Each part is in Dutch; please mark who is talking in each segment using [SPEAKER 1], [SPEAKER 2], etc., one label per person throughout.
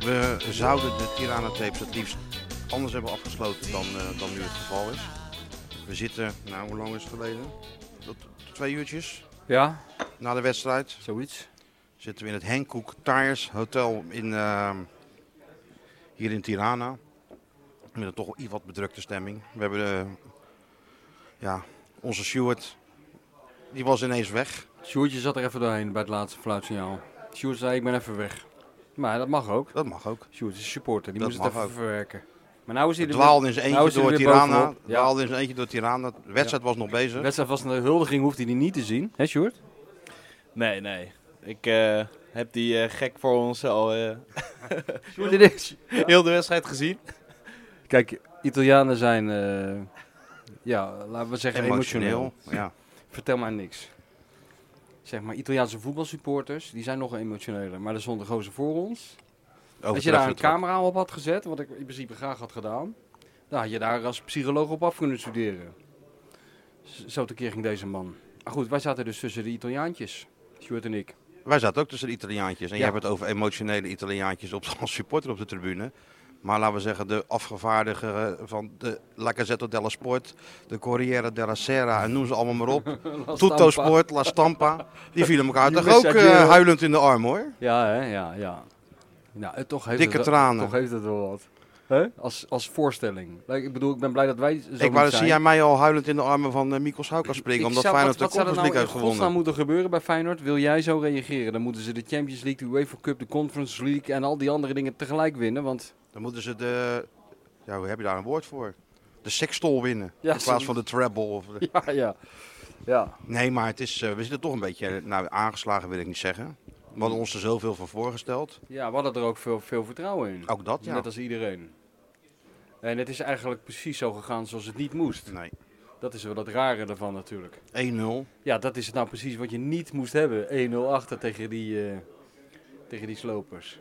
[SPEAKER 1] We zouden de Tirana-tapes het liefst anders hebben afgesloten dan, eh, dan nu het geval is. We zitten, nou hoe lang is het geleden? Tot twee uurtjes
[SPEAKER 2] Ja,
[SPEAKER 1] na de wedstrijd
[SPEAKER 2] zoiets.
[SPEAKER 1] zitten we in het Hankook Tires Hotel in, ehm, hier in Tirana. Met een toch wel iets wat bedrukte stemming. We hebben eh, ja, onze Stuart, die was ineens weg.
[SPEAKER 2] Sjoerdje zat er even doorheen bij het laatste fluitsignaal. Sjoerd zei, ik ben even weg. Maar dat mag ook.
[SPEAKER 1] Dat mag ook.
[SPEAKER 2] Sjoerd is een supporter, die
[SPEAKER 1] Dat
[SPEAKER 2] moest het even
[SPEAKER 1] mag ook.
[SPEAKER 2] verwerken. Maar nou is hij
[SPEAKER 1] Het
[SPEAKER 2] er
[SPEAKER 1] dwaalde in zijn
[SPEAKER 2] nou
[SPEAKER 1] eentje
[SPEAKER 2] is hij
[SPEAKER 1] door
[SPEAKER 2] er weer
[SPEAKER 1] Tirana.
[SPEAKER 2] bovenop. Ja.
[SPEAKER 1] dwaalde in zijn eentje door Tirana. De wedstrijd was nog
[SPEAKER 2] De
[SPEAKER 1] bezig.
[SPEAKER 2] wedstrijd was een huldiging, hoefde hij die niet te zien. Hè Sjoerd?
[SPEAKER 3] Nee, nee. Ik eh, heb die eh, gek voor ons al eh,
[SPEAKER 2] Sjoerd, dit is...
[SPEAKER 3] heel de wedstrijd gezien.
[SPEAKER 2] Kijk, Italianen zijn, eh, ja, laten we zeggen emotioneel.
[SPEAKER 1] Emotioneel. Ja.
[SPEAKER 2] Vertel maar niks. Zeg maar, Italiaanse voetbalsupporters, die zijn nog emotioneler. Maar er stond een gozer voor ons. Als je daar een
[SPEAKER 1] Overtreffend wat.
[SPEAKER 2] camera op had gezet, wat ik in principe graag had gedaan, dan had je daar als psycholoog op af kunnen studeren. Z- Zo tekeer ging deze man. Maar goed, wij zaten dus tussen de Italiaantjes, Stuart en ik.
[SPEAKER 1] Wij zaten ook tussen de Italiaantjes. En
[SPEAKER 2] Ja.
[SPEAKER 1] je hebt het over emotionele Italiaantjes op, als supporter op de tribune. Maar laten we zeggen, de afgevaardiger eh, van de La Gazzetta della Sport, de Corriere della Sera en noem ze allemaal maar op. Tutto Sport, La Stampa. Die vielen elkaar toch
[SPEAKER 2] Juve
[SPEAKER 1] ook eh,
[SPEAKER 2] Saggiero.
[SPEAKER 1] huilend in de arm hoor.
[SPEAKER 2] Ja, hè? ja, ja. Nou, eh, toch heeft
[SPEAKER 1] Dikke
[SPEAKER 2] het, wel-
[SPEAKER 1] tranen.
[SPEAKER 2] Toch heeft het wel wat. Hè? Als, als voorstelling. Like, Ik bedoel, ik ben blij dat wij zo
[SPEAKER 1] Ik
[SPEAKER 2] niet
[SPEAKER 1] wou,
[SPEAKER 2] zijn.
[SPEAKER 1] zie jij mij al huilend in de armen van eh, Mikos Houka springen, omdat
[SPEAKER 2] zou-
[SPEAKER 1] Feyenoord de
[SPEAKER 2] wat, wat zou
[SPEAKER 1] Conference
[SPEAKER 2] er
[SPEAKER 1] League
[SPEAKER 2] nou
[SPEAKER 1] heeft
[SPEAKER 2] in godsnaam
[SPEAKER 1] gewonnen.
[SPEAKER 2] moeten gebeuren bij Feyenoord? Wil jij zo reageren? Dan moeten ze de Champions League, de UEFA Cup, de Conference League en al die andere dingen tegelijk winnen. Want
[SPEAKER 1] Dan moeten ze de, ja, hoe heb je daar een woord voor? De sextol winnen,
[SPEAKER 2] Ja,
[SPEAKER 1] in plaats
[SPEAKER 2] ze-
[SPEAKER 1] van de treble. Of de-
[SPEAKER 2] ja, ja. ja.
[SPEAKER 1] Nee, maar het is, eh, we zitten toch een beetje eh, nou, aangeslagen, wil ik niet zeggen. We hadden ons er zoveel van voorgesteld.
[SPEAKER 2] Ja, we hadden er ook veel, veel vertrouwen in.
[SPEAKER 1] Ook dat, ja.
[SPEAKER 2] Net als iedereen. En het is eigenlijk precies zo gegaan zoals het niet moest.
[SPEAKER 1] Nee.
[SPEAKER 2] Dat is wel het rare ervan natuurlijk.
[SPEAKER 1] 1-0.
[SPEAKER 2] Ja, dat is het nou precies wat je niet moest hebben. 1-0 achter tegen die, eh, tegen die slopers.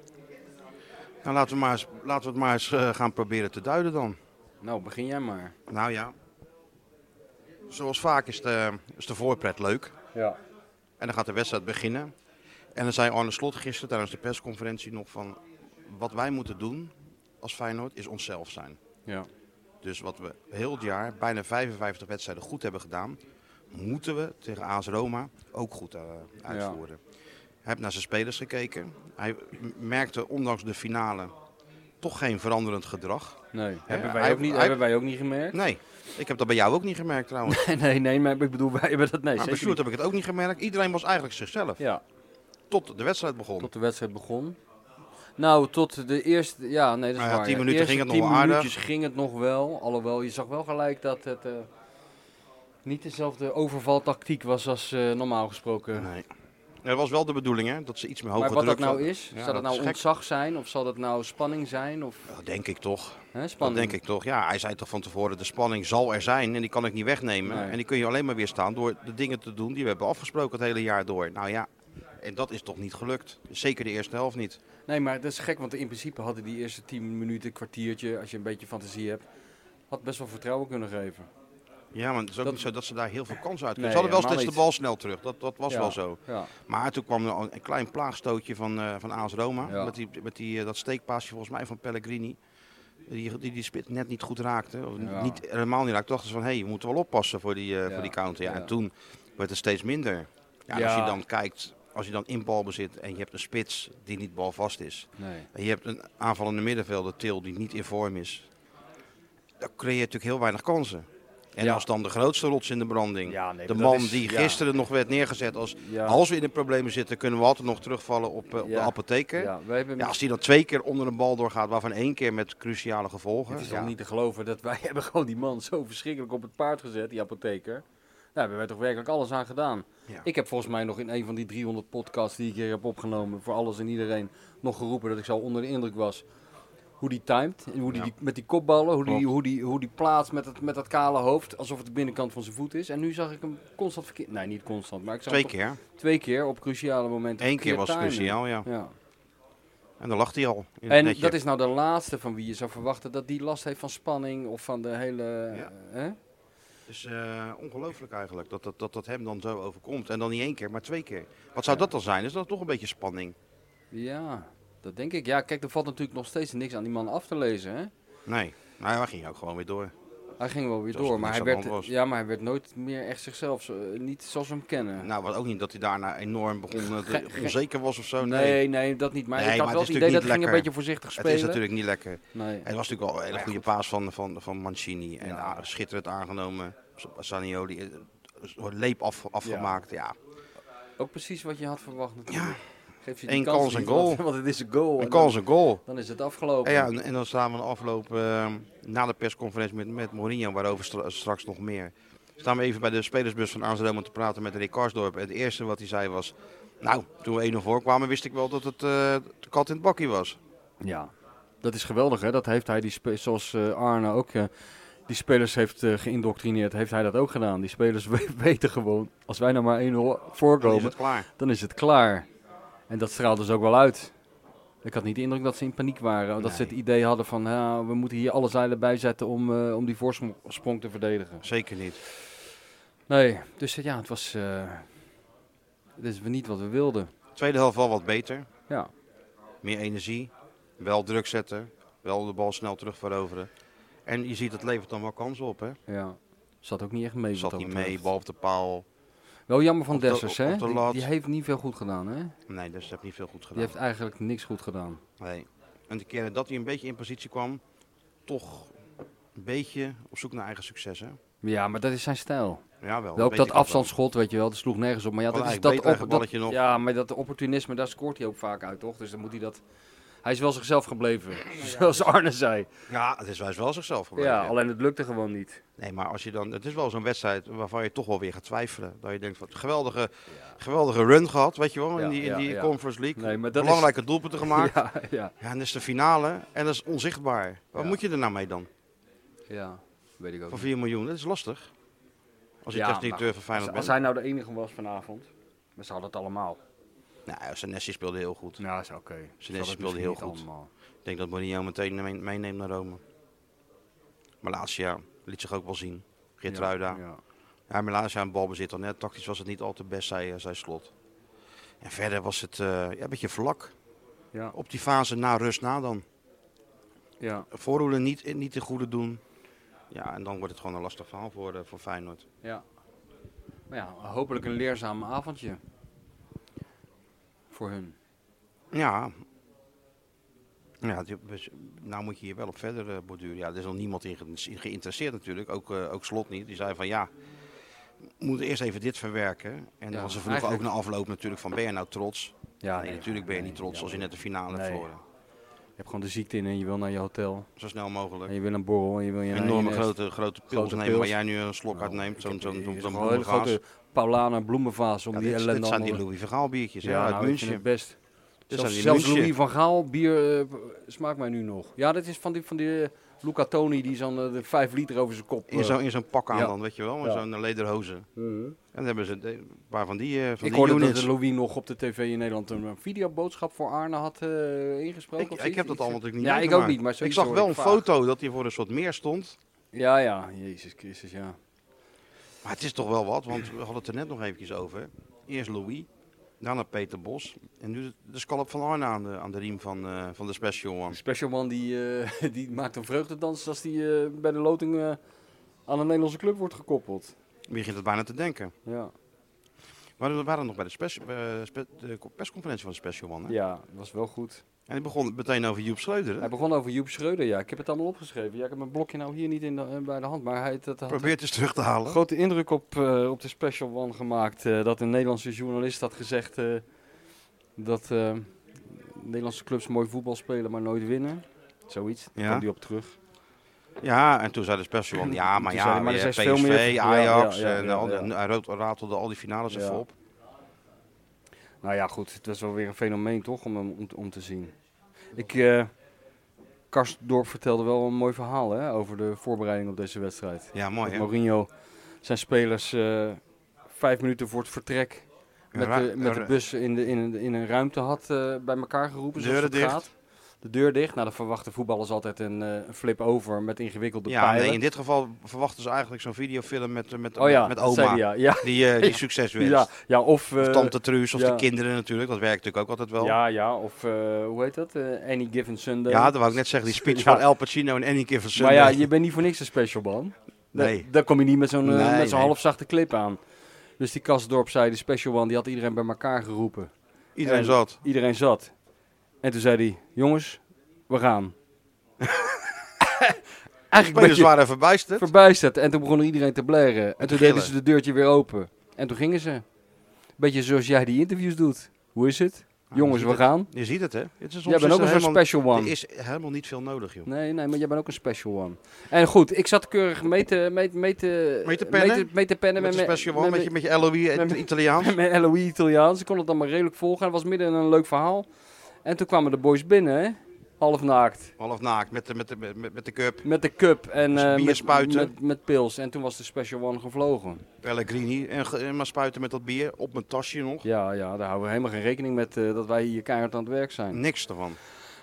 [SPEAKER 1] Nou, laten we, maar eens, laten we het maar eens eh, gaan proberen te duiden dan.
[SPEAKER 2] Nou, begin jij maar.
[SPEAKER 1] Nou ja. Zoals vaak is de, is de voorpret leuk.
[SPEAKER 2] Ja.
[SPEAKER 1] En dan gaat de wedstrijd beginnen. En dan zei Arne Slot gisteren tijdens de persconferentie nog van... Wat wij moeten doen als Feyenoord is onszelf zijn.
[SPEAKER 2] Ja.
[SPEAKER 1] Dus wat we heel het jaar, bijna 55 wedstrijden goed hebben gedaan... moeten we tegen AS Roma ook goed eh, uitvoeren. Hij heeft naar zijn spelers gekeken. Hij m- merkte ondanks de finale toch geen veranderend gedrag.
[SPEAKER 2] Nee. hebben, wij
[SPEAKER 1] hij-
[SPEAKER 2] ook niet,
[SPEAKER 1] hij-
[SPEAKER 2] hebben wij ook niet gemerkt?
[SPEAKER 1] Nee, ik heb dat bij jou ook niet gemerkt trouwens.
[SPEAKER 2] Nee, nee, nee, maar ik bedoel, wij hebben dat nee,
[SPEAKER 1] Maar bij
[SPEAKER 2] zeker
[SPEAKER 1] Sjoerd
[SPEAKER 2] niet.
[SPEAKER 1] heb ik het ook niet gemerkt. Iedereen was eigenlijk zichzelf.
[SPEAKER 2] Ja,
[SPEAKER 1] Tot de wedstrijd begon.
[SPEAKER 2] tot de wedstrijd begon. Nou, tot de eerste, ja, nee, dat is
[SPEAKER 1] Nou ja,
[SPEAKER 2] waar.
[SPEAKER 1] tien
[SPEAKER 2] ja.
[SPEAKER 1] minuten
[SPEAKER 2] Eerste
[SPEAKER 1] ging het
[SPEAKER 2] tien
[SPEAKER 1] nog wel aardig.
[SPEAKER 2] minuutjes ging het nog wel, alhoewel je zag wel gelijk dat het eh, niet dezelfde overvaltactiek was als eh, normaal gesproken.
[SPEAKER 1] Nee. Er was wel de bedoeling hè, dat ze iets meer hoger
[SPEAKER 2] maar wat dat
[SPEAKER 1] druk
[SPEAKER 2] nou
[SPEAKER 1] zetten.
[SPEAKER 2] is,
[SPEAKER 1] Ja,
[SPEAKER 2] zal dat
[SPEAKER 1] dat is
[SPEAKER 2] nou
[SPEAKER 1] gek.
[SPEAKER 2] ontzag zijn of zal dat nou spanning zijn of
[SPEAKER 1] Dat denk ik toch.
[SPEAKER 2] hè,
[SPEAKER 1] Dat
[SPEAKER 2] spanning?
[SPEAKER 1] denk ik toch. Ja, hij zei toch van tevoren, de spanning zal er zijn en die kan ik niet wegnemen.
[SPEAKER 2] Nee.
[SPEAKER 1] En die kun je alleen maar weerstaan door de dingen te doen die we hebben afgesproken het hele jaar door. Nou ja, en dat is toch niet gelukt. Zeker de eerste helft niet.
[SPEAKER 2] Nee, maar dat is gek, want in principe hadden die eerste 10 minuten, kwartiertje, als je een beetje fantasie hebt, had best wel vertrouwen kunnen geven.
[SPEAKER 1] Ja, maar het is ook
[SPEAKER 2] Dat-
[SPEAKER 1] niet zo dat ze daar heel veel kans uit kunnen.
[SPEAKER 2] Nee,
[SPEAKER 1] ze hadden wel
[SPEAKER 2] helemaal
[SPEAKER 1] steeds de bal snel terug. Dat, dat was
[SPEAKER 2] Ja,
[SPEAKER 1] wel zo.
[SPEAKER 2] Ja.
[SPEAKER 1] Maar toen kwam er al een klein plaagstootje van, eh van AS Roma.
[SPEAKER 2] Ja.
[SPEAKER 1] Met, die, met die, eh, dat steekpaasje volgens mij van Pellegrini. Die die, die spit net niet goed raakte. Of
[SPEAKER 2] Ja.
[SPEAKER 1] niet, helemaal niet raakte. Dachten ze van, hé, hey, we moeten wel oppassen voor die, eh,
[SPEAKER 2] Ja.
[SPEAKER 1] voor die counter. Ja,
[SPEAKER 2] Ja.
[SPEAKER 1] En toen werd het steeds minder. Ja, en
[SPEAKER 2] Ja.
[SPEAKER 1] Als je dan kijkt, als je dan in balbezit en je hebt een spits die niet balvast is.
[SPEAKER 2] Nee.
[SPEAKER 1] En je hebt een aanvallende middenvelder, Til, die niet in vorm is. Dan creëer je natuurlijk heel weinig kansen. En
[SPEAKER 2] Ja.
[SPEAKER 1] als dan de grootste rots in de branding.
[SPEAKER 2] Ja, nee,
[SPEAKER 1] de
[SPEAKER 2] dat
[SPEAKER 1] man
[SPEAKER 2] is-
[SPEAKER 1] die
[SPEAKER 2] ja.
[SPEAKER 1] gisteren nog werd neergezet als
[SPEAKER 2] Ja.
[SPEAKER 1] als we in de problemen zitten, kunnen we altijd nog terugvallen op, eh, op
[SPEAKER 2] Ja.
[SPEAKER 1] de apotheker. Ja.
[SPEAKER 2] Ja, wij hebben
[SPEAKER 1] als die dan twee keer onder een bal doorgaat, waarvan één keer met cruciale gevolgen.
[SPEAKER 2] Het is
[SPEAKER 1] ja.
[SPEAKER 2] al niet te geloven dat wij hebben gewoon die man zo verschrikkelijk op het paard gezet, die apotheker. Daar hebben wij toch werkelijk alles aan gedaan.
[SPEAKER 1] Ja.
[SPEAKER 2] Ik heb volgens mij nog in een van die 300 podcasts die ik hier heb opgenomen, voor alles en iedereen, nog geroepen dat ik zo onder de indruk was. Hoe die timed, en hoe die,
[SPEAKER 1] Ja.
[SPEAKER 2] die- met die kopballen, hoe die,
[SPEAKER 1] Klopt.
[SPEAKER 2] hoe die, hoe die plaatst met, het, met dat kale hoofd, alsof het de binnenkant van zijn voet is. En nu zag ik hem constant verkeerd, nee niet constant, maar ik zag
[SPEAKER 1] Twee
[SPEAKER 2] hem
[SPEAKER 1] keer.
[SPEAKER 2] toch twee keer op cruciale momenten
[SPEAKER 1] Eén keer was het
[SPEAKER 2] verkeerd timen.
[SPEAKER 1] cruciaal, ja.
[SPEAKER 2] Ja.
[SPEAKER 1] En dan lag hij al. In het
[SPEAKER 2] En
[SPEAKER 1] netje.
[SPEAKER 2] dat is nou de laatste van wie je zou verwachten dat die last heeft van spanning of van de hele...
[SPEAKER 1] Ja.
[SPEAKER 2] Hè?
[SPEAKER 1] Dus eh, ongelooflijk eigenlijk dat dat, dat dat hem dan zo overkomt. En dan niet één keer, maar twee keer. Wat zou dat dan zijn? Is dat toch een beetje spanning?
[SPEAKER 2] Ja, dat denk ik. Ja, kijk, er valt natuurlijk nog steeds niks aan die man af te lezen. Hè?
[SPEAKER 1] Nee. Nou, hij ging ook gewoon weer door.
[SPEAKER 2] Hij ging wel weer
[SPEAKER 1] Zoals
[SPEAKER 2] door,
[SPEAKER 1] er
[SPEAKER 2] maar hij,
[SPEAKER 1] niks aan de
[SPEAKER 2] werd,
[SPEAKER 1] hand was.
[SPEAKER 2] ja, maar hij werd nooit meer echt zichzelf. zo- eh, niet zoals we hem kennen.
[SPEAKER 1] Nou, wat ook niet dat hij daarna enorm begon, eh,
[SPEAKER 2] Ge- ge-
[SPEAKER 1] onzeker was of zo.
[SPEAKER 2] nee.
[SPEAKER 1] Nee,
[SPEAKER 2] nee, dat niet. Maar
[SPEAKER 1] Nee,
[SPEAKER 2] ik had
[SPEAKER 1] maar
[SPEAKER 2] wel
[SPEAKER 1] het
[SPEAKER 2] het
[SPEAKER 1] is
[SPEAKER 2] idee dat
[SPEAKER 1] natuurlijk
[SPEAKER 2] hij ging
[SPEAKER 1] niet
[SPEAKER 2] een beetje voorzichtig
[SPEAKER 1] het
[SPEAKER 2] spelen.
[SPEAKER 1] is natuurlijk niet lekker.
[SPEAKER 2] Nee.
[SPEAKER 1] Het was natuurlijk wel een hele
[SPEAKER 2] Ja,
[SPEAKER 1] goede
[SPEAKER 2] goed.
[SPEAKER 1] paas van, van, van Mancini. En
[SPEAKER 2] Ja.
[SPEAKER 1] ah, schitterend aangenomen. Sanioli, eh, leep af, afgemaakt. Ja.
[SPEAKER 2] Ook precies wat je had verwacht natuurlijk. Geef je
[SPEAKER 1] Eén
[SPEAKER 2] kansen
[SPEAKER 1] kans, een
[SPEAKER 2] niet,
[SPEAKER 1] goal.
[SPEAKER 2] Want, want het is een goal.
[SPEAKER 1] Een
[SPEAKER 2] en dan-
[SPEAKER 1] kans, een goal.
[SPEAKER 2] Dan is het afgelopen.
[SPEAKER 1] En, ja, en, en dan staan we in de afloop eh, na de persconferentie met, met Mourinho, waarover stra- straks nog meer. Staan we even bij de spelersbus van Amsterdam om te praten met Rick Karsdorp. En het eerste wat hij zei was, nou, toen we 1-0 voorkwamen wist ik wel dat het eh, de kat in het bakkie was.
[SPEAKER 2] Ja, dat is geweldig hè. Dat heeft hij, die spe- zoals eh, Arne ook, eh, die spelers heeft eh, geïndoctrineerd, heeft hij dat ook gedaan. Die spelers we- weten gewoon, als wij nou maar 1-0
[SPEAKER 1] Dan is
[SPEAKER 2] voorkomen,
[SPEAKER 1] het klaar.
[SPEAKER 2] dan is het klaar. En dat straalt dus ook wel uit. Ik had niet de indruk dat ze in paniek waren. Dat ze het
[SPEAKER 1] Nee.
[SPEAKER 2] idee hadden van, ja, we moeten hier alle zeilen bij zetten om, eh, om die voorsprong te verdedigen.
[SPEAKER 1] Zeker niet.
[SPEAKER 2] Nee, dus eh, ja, het was, eh, het is niet wat we wilden.
[SPEAKER 1] Tweede helft wel wat beter.
[SPEAKER 2] Ja,
[SPEAKER 1] Meer energie. Wel druk zetten. Wel de bal snel terug veroveren. En je ziet, het levert dan wel kansen op. Hè?
[SPEAKER 2] ja. Zat ook niet echt mee. wat
[SPEAKER 1] Zat
[SPEAKER 2] dat
[SPEAKER 1] niet
[SPEAKER 2] betreft.
[SPEAKER 1] mee, bal op de paal.
[SPEAKER 2] Wel jammer van
[SPEAKER 1] Op de-
[SPEAKER 2] Dessers,
[SPEAKER 1] op-
[SPEAKER 2] hè?
[SPEAKER 1] op de
[SPEAKER 2] Die,
[SPEAKER 1] lat.
[SPEAKER 2] die heeft niet veel goed gedaan, hè?
[SPEAKER 1] Nee, dus dat heeft niet veel goed gedaan.
[SPEAKER 2] Die heeft eigenlijk niks goed gedaan.
[SPEAKER 1] Nee. En de keren dat hij een beetje in positie kwam, toch een beetje op zoek naar eigen succes. Hè?
[SPEAKER 2] Ja, maar dat is zijn stijl.
[SPEAKER 1] Jawel.
[SPEAKER 2] ook
[SPEAKER 1] Oh, weet
[SPEAKER 2] dat
[SPEAKER 1] ik wel.
[SPEAKER 2] afstandsschot, weet je wel, dat sloeg nergens op. Maar ja,
[SPEAKER 1] Wel
[SPEAKER 2] dat is
[SPEAKER 1] eigenlijk
[SPEAKER 2] dat,
[SPEAKER 1] beter eigen
[SPEAKER 2] op, dat-
[SPEAKER 1] balletje nog.
[SPEAKER 2] ja, maar dat opportunisme, daar scoort hij ook vaak uit, toch? Dus dan moet hij dat... Hij is wel zichzelf gebleven, zoals Arne zei.
[SPEAKER 1] Ja, het is hij is wel zichzelf geworden.
[SPEAKER 2] Ja, alleen het lukte gewoon niet.
[SPEAKER 1] Nee, maar als je dan, het is wel zo'n wedstrijd waarvan je toch wel weer gaat twijfelen. Dat je denkt van geweldige, geweldige run gehad, weet je wel,
[SPEAKER 2] Ja,
[SPEAKER 1] in die, in
[SPEAKER 2] ja,
[SPEAKER 1] die
[SPEAKER 2] ja.
[SPEAKER 1] Conference League.
[SPEAKER 2] Nee, maar dat is-
[SPEAKER 1] Belangrijke doelpunten gemaakt. Ja.
[SPEAKER 2] Ja, ja.
[SPEAKER 1] en dat is de finale en dat is onzichtbaar. Wat
[SPEAKER 2] Ja.
[SPEAKER 1] moet je er nou mee dan?
[SPEAKER 2] Ja, weet ik ook
[SPEAKER 1] Van
[SPEAKER 2] niet.
[SPEAKER 1] 4 miljoen, dat is lastig. Als je
[SPEAKER 2] Ja,
[SPEAKER 1] technisch
[SPEAKER 2] maar
[SPEAKER 1] van
[SPEAKER 2] Als,
[SPEAKER 1] Feyenoord
[SPEAKER 2] als
[SPEAKER 1] bent.
[SPEAKER 2] hij nou de enige was vanavond, maar ze hadden het allemaal.
[SPEAKER 1] Nou, Senesi speelde heel goed.
[SPEAKER 2] Nou, is oké. Ze hadden het
[SPEAKER 1] speelde
[SPEAKER 2] misschien
[SPEAKER 1] heel
[SPEAKER 2] niet
[SPEAKER 1] goed.
[SPEAKER 2] allemaal.
[SPEAKER 1] Ik denk dat Mourinho meteen mee- meeneemt naar Rome. Malasia liet zich ook wel zien. Geertruida.
[SPEAKER 2] Ja, ja.
[SPEAKER 1] Ja, Malasia een balbezit al net. Tactisch was het niet al te best, zei, eh, zei Slot. En verder was het eh, ja, een beetje vlak.
[SPEAKER 2] Ja,
[SPEAKER 1] Op die fase na rust na dan.
[SPEAKER 2] ja.
[SPEAKER 1] Voorroelen niet, niet de goede doen. Ja, en dan wordt het gewoon een lastig verhaal voor, eh, voor Feyenoord.
[SPEAKER 2] Ja. Maar ja, hopelijk een leerzaam avondje. Voor hun.
[SPEAKER 1] Ja. Ja, die- we- nou moet je hier wel op verder eh, borduren. Ja, er is nog niemand in ge- in geïnteresseerd natuurlijk. Ook, eh, ook Slot niet. Die zei van ja, we moeten eerst even dit verwerken. En
[SPEAKER 2] Ja,
[SPEAKER 1] dan ze vroegen ook
[SPEAKER 2] eigenlijk-
[SPEAKER 1] na afloop natuurlijk van ben je nou trots?
[SPEAKER 2] Ja,
[SPEAKER 1] nee, natuurlijk ben je niet trots als je net de finale
[SPEAKER 2] Nee.
[SPEAKER 1] hebt verloren.
[SPEAKER 2] Je hebt gewoon de ziekte in en je wil naar je hotel.
[SPEAKER 1] Zo snel mogelijk.
[SPEAKER 2] En je wil een borrel en je wil je
[SPEAKER 1] Een
[SPEAKER 2] naar
[SPEAKER 1] enorme
[SPEAKER 2] je nest.
[SPEAKER 1] grote, grote pils
[SPEAKER 2] Grote
[SPEAKER 1] nemen waar
[SPEAKER 2] pils.
[SPEAKER 1] jij nu een slok
[SPEAKER 2] Nou,
[SPEAKER 1] uit neemt. Zo'n zo'n
[SPEAKER 2] Hier
[SPEAKER 1] zo'n
[SPEAKER 2] is
[SPEAKER 1] zo'n
[SPEAKER 2] gewoon een hele
[SPEAKER 1] bloemenvaas.
[SPEAKER 2] grote Paulana bloemenvaas om
[SPEAKER 1] Ja,
[SPEAKER 2] die
[SPEAKER 1] dit,
[SPEAKER 2] ellende
[SPEAKER 1] dit zijn die
[SPEAKER 2] allemaal-
[SPEAKER 1] Louis Vergaal biertjes hè,
[SPEAKER 2] Ja,
[SPEAKER 1] uit
[SPEAKER 2] nou, ik vind
[SPEAKER 1] München.
[SPEAKER 2] het best.
[SPEAKER 1] Dit zijn
[SPEAKER 2] zelfs
[SPEAKER 1] die
[SPEAKER 2] zelfs
[SPEAKER 1] München.
[SPEAKER 2] Louis van Gaal bier eh, smaakt mij nu nog. Ja, dat is van die, van die eh, Luca Toni die zo'n eh, de 5 liter over zijn kop...
[SPEAKER 1] In
[SPEAKER 2] eh,
[SPEAKER 1] zo'n in zo'n pak aan
[SPEAKER 2] Ja.
[SPEAKER 1] dan, weet je wel. In
[SPEAKER 2] Ja.
[SPEAKER 1] zo'n lederhozen.
[SPEAKER 2] mhm.
[SPEAKER 1] En dan hebben ze de- een paar van die, eh, van
[SPEAKER 2] Ik
[SPEAKER 1] die
[SPEAKER 2] hoorde
[SPEAKER 1] units.
[SPEAKER 2] dat Louis nog op de tv in Nederland een een videoboodschap voor Arne had eh, ingesproken.
[SPEAKER 1] Ik,
[SPEAKER 2] of
[SPEAKER 1] ik
[SPEAKER 2] zoiets.
[SPEAKER 1] heb dat allemaal natuurlijk niet
[SPEAKER 2] Ja, ik
[SPEAKER 1] meegemaakt.
[SPEAKER 2] ook niet, maar
[SPEAKER 1] Ik
[SPEAKER 2] zoiets
[SPEAKER 1] zag
[SPEAKER 2] hoor
[SPEAKER 1] wel
[SPEAKER 2] ik
[SPEAKER 1] een
[SPEAKER 2] vaak.
[SPEAKER 1] foto dat hij voor een soort meer stond.
[SPEAKER 2] Ja, ja, Jezus Christus, ja.
[SPEAKER 1] Maar het is toch wel wat, want we hadden het er net nog eventjes over. Eerst Louis, daarna Peter Bos. En nu de, de scalp van Arne aan de, aan de riem van, eh, van de Special One.
[SPEAKER 2] De special man die, eh, die maakt een vreugdedans als die eh, bij de loting eh, aan een Nederlandse club wordt gekoppeld.
[SPEAKER 1] Je begint het bijna te denken.
[SPEAKER 2] Ja,
[SPEAKER 1] Maar we waren nog bij de, speci- eh, spe- de co- persconferentie van de Special One. Hè?
[SPEAKER 2] ja dat was wel goed.
[SPEAKER 1] En die begon meteen over Joep Schreuder.
[SPEAKER 2] Hij
[SPEAKER 1] Hè?
[SPEAKER 2] begon over Joep Schreuder, ja. Ik heb het allemaal opgeschreven. Ja, ik heb mijn blokje nou hier niet in de, eh, bij de hand, maar hij dat had
[SPEAKER 1] Probeer het eens terug te halen.
[SPEAKER 2] grote indruk op, eh, op de special one gemaakt. eh, dat een Nederlandse journalist had gezegd eh, dat eh, Nederlandse clubs mooi voetbal spelen, maar nooit winnen. Zoiets. Daar
[SPEAKER 1] Ja.
[SPEAKER 2] kwam die op terug.
[SPEAKER 1] Ja, en toen zei de special one, ja, maar
[SPEAKER 2] Toen zei
[SPEAKER 1] ja,
[SPEAKER 2] hij, maar
[SPEAKER 1] je
[SPEAKER 2] er
[SPEAKER 1] hebt
[SPEAKER 2] is veel meer
[SPEAKER 1] PSV,
[SPEAKER 2] ver-
[SPEAKER 1] Ajax,
[SPEAKER 2] ja, ja, ja,
[SPEAKER 1] en eh,
[SPEAKER 2] ja,
[SPEAKER 1] al-
[SPEAKER 2] ja.
[SPEAKER 1] en hij rood- ratelde al die finales
[SPEAKER 2] Ja.
[SPEAKER 1] even op.
[SPEAKER 2] Nou ja, goed. Het was wel weer een fenomeen toch om hem om, om te zien. Ik, eh Karsdorp vertelde wel een mooi verhaal hè, over de voorbereiding op deze wedstrijd.
[SPEAKER 1] Ja, mooi hè.
[SPEAKER 2] Dat Mourinho zijn spelers eh, vijf minuten voor het vertrek met
[SPEAKER 1] Ra-
[SPEAKER 2] de, met de
[SPEAKER 1] ra-
[SPEAKER 2] bus in, de, in, een- in een ruimte had eh, bij elkaar geroepen. zoals
[SPEAKER 1] Deuren
[SPEAKER 2] het
[SPEAKER 1] dicht.
[SPEAKER 2] Gaat. De deur dicht. Nou, dan verwachten voetballers altijd een eh, flip over met ingewikkelde
[SPEAKER 1] Ja,
[SPEAKER 2] pijlen.
[SPEAKER 1] nee, in dit geval verwachten ze eigenlijk zo'n videofilm met, eh, met,
[SPEAKER 2] oh ja,
[SPEAKER 1] met
[SPEAKER 2] dat zei
[SPEAKER 1] oma.
[SPEAKER 2] hij, ja.
[SPEAKER 1] Die, eh, die succes
[SPEAKER 2] Ja,
[SPEAKER 1] wenst.
[SPEAKER 2] ja, ja, of...
[SPEAKER 1] Of
[SPEAKER 2] eh,
[SPEAKER 1] tante Truus, of
[SPEAKER 2] ja.
[SPEAKER 1] de kinderen natuurlijk. Dat werkt natuurlijk ook altijd wel. Ja,
[SPEAKER 2] ja, ja, of eh, hoe heet dat? Eh, Any Given Sunday.
[SPEAKER 1] dat wou ik net zeggen. Die speech
[SPEAKER 2] Ja.
[SPEAKER 1] van El Pacino en Annie keer van
[SPEAKER 2] maar
[SPEAKER 1] Sunday.
[SPEAKER 2] ja, je bent niet voor niks een special man. Da-
[SPEAKER 1] Nee.
[SPEAKER 2] Daar kom je niet met zo'n eh,
[SPEAKER 1] Nee,
[SPEAKER 2] met zo'n
[SPEAKER 1] nee.
[SPEAKER 2] halfzachte clip aan. Dus die Kastdorp zei, die special one, die had iedereen bij elkaar geroepen.
[SPEAKER 1] Iedereen
[SPEAKER 2] en-
[SPEAKER 1] zat.
[SPEAKER 2] Iedereen zat. En toen zei hij, jongens, we gaan. Eigenlijk een
[SPEAKER 1] Spelers
[SPEAKER 2] beetje
[SPEAKER 1] waren verbijsterd.
[SPEAKER 2] verbijsterd. En toen begon iedereen te blaren. En toen deden
[SPEAKER 1] gillen.
[SPEAKER 2] ze de deurtje weer open. En toen gingen ze. Beetje zoals jij die interviews doet. Hoe is het?
[SPEAKER 1] Ah,
[SPEAKER 2] jongens,
[SPEAKER 1] je
[SPEAKER 2] we
[SPEAKER 1] ziet het.
[SPEAKER 2] gaan.
[SPEAKER 1] Je ziet het, hè? Het is
[SPEAKER 2] Jij bent ook een
[SPEAKER 1] helemaal,
[SPEAKER 2] soort special one.
[SPEAKER 1] Er is helemaal niet veel nodig, joh.
[SPEAKER 2] Nee, nee, maar jij bent ook een special one. En goed, ik zat keurig mee te, mee, mee te,
[SPEAKER 1] Mee te pennen?
[SPEAKER 2] Mee te, mee te pennen
[SPEAKER 1] Met
[SPEAKER 2] met,
[SPEAKER 1] een
[SPEAKER 2] mijn-
[SPEAKER 1] special one, met, je,
[SPEAKER 2] mijn-
[SPEAKER 1] met je LOE en
[SPEAKER 2] met-
[SPEAKER 1] het Italiaans.
[SPEAKER 2] met mijn LOE Italiaans. Ik kon het dan maar redelijk volgen. Het was midden in een leuk verhaal. En toen kwamen de boys binnen, hè? half naakt.
[SPEAKER 1] Half naakt, met de, met de, met, met de cup.
[SPEAKER 2] Met de cup en
[SPEAKER 1] Dus
[SPEAKER 2] eh,
[SPEAKER 1] bier
[SPEAKER 2] met,
[SPEAKER 1] spuiten.
[SPEAKER 2] Met, met pils. En toen was de special one gevlogen.
[SPEAKER 1] Pellegrini. En, ge- en maar spuiten met dat bier. Op mijn tasje nog.
[SPEAKER 2] Ja, ja, daar houden we helemaal geen rekening met eh, dat wij hier keihard aan het werk zijn.
[SPEAKER 1] Niks ervan.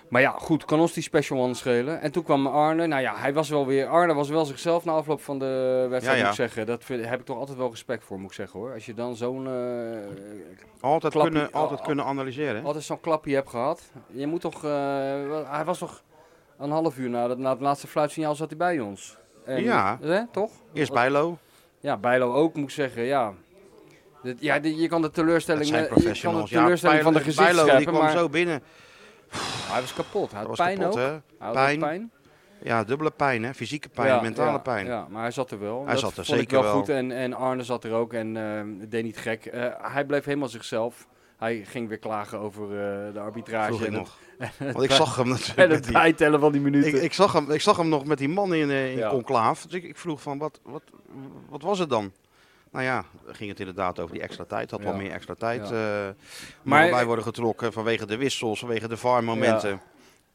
[SPEAKER 2] Maar ja, goed, kan ons die special one schelen. En toen kwam Arne. Nou ja, hij was wel weer. Arne was wel zichzelf na afloop van de wedstrijd,
[SPEAKER 1] Ja, ja.
[SPEAKER 2] moet ik zeggen. Dat vind, heb ik toch altijd wel respect voor, moet ik zeggen hoor. Als je dan zo'n. eh,
[SPEAKER 1] Altijd,
[SPEAKER 2] Klappie.
[SPEAKER 1] kunnen, altijd
[SPEAKER 2] Oh,
[SPEAKER 1] kunnen analyseren. hè?
[SPEAKER 2] altijd zo'n klapje hebt gehad. Je moet toch. eh, wel- hij was toch een half uur na, dat, na het laatste fluitsignaal zat hij bij ons. En-
[SPEAKER 1] Ja.
[SPEAKER 2] Hè, toch?
[SPEAKER 1] Eerst Bijlo.
[SPEAKER 2] Ja, Bijlo ook, moet ik zeggen, ja. Dit- ja, dit- je kan de teleurstelling,
[SPEAKER 1] Dat zijn
[SPEAKER 2] eh, je kan de
[SPEAKER 1] professionals.
[SPEAKER 2] teleurstelling van de
[SPEAKER 1] Bijlo-
[SPEAKER 2] gezicht
[SPEAKER 1] Bijlo, die
[SPEAKER 2] scheppen,
[SPEAKER 1] kwam
[SPEAKER 2] maar
[SPEAKER 1] zo binnen.
[SPEAKER 2] hij was kapot. Hij
[SPEAKER 1] Dat
[SPEAKER 2] had
[SPEAKER 1] was
[SPEAKER 2] pijn
[SPEAKER 1] kapot,
[SPEAKER 2] ook.
[SPEAKER 1] hè?
[SPEAKER 2] Hij had ook
[SPEAKER 1] Pijn.
[SPEAKER 2] pijn.
[SPEAKER 1] Ja, dubbele pijn, hè? Fysieke pijn,
[SPEAKER 2] Ja,
[SPEAKER 1] mentale
[SPEAKER 2] ja,
[SPEAKER 1] pijn.
[SPEAKER 2] Ja, maar hij zat er wel.
[SPEAKER 1] Hij
[SPEAKER 2] dat
[SPEAKER 1] zat er
[SPEAKER 2] vond ik
[SPEAKER 1] zeker
[SPEAKER 2] wel,
[SPEAKER 1] wel.
[SPEAKER 2] goed. En, en Arne zat er ook en ehm, het deed niet gek. Eh, hij bleef helemaal zichzelf. Hij ging weer klagen over eh, de arbitrage.
[SPEAKER 1] Vroeg ik
[SPEAKER 2] en het-
[SPEAKER 1] nog. Want ik zag hem
[SPEAKER 2] En
[SPEAKER 1] natuurlijk. met
[SPEAKER 2] het
[SPEAKER 1] die-
[SPEAKER 2] bijtellen van die minuten.
[SPEAKER 1] Ik, ik, zag hem, ik zag hem nog met die man in, eh, in
[SPEAKER 2] Ja.
[SPEAKER 1] conclaaf. Dus ik, ik vroeg van, wat, wat, wat was het dan? Nou ja, ging het inderdaad over die extra tijd. Had wel
[SPEAKER 2] Ja.
[SPEAKER 1] meer extra tijd. eh, maar
[SPEAKER 2] Maar-
[SPEAKER 1] wij worden getrokken vanwege de wissels, vanwege de VAR-momenten.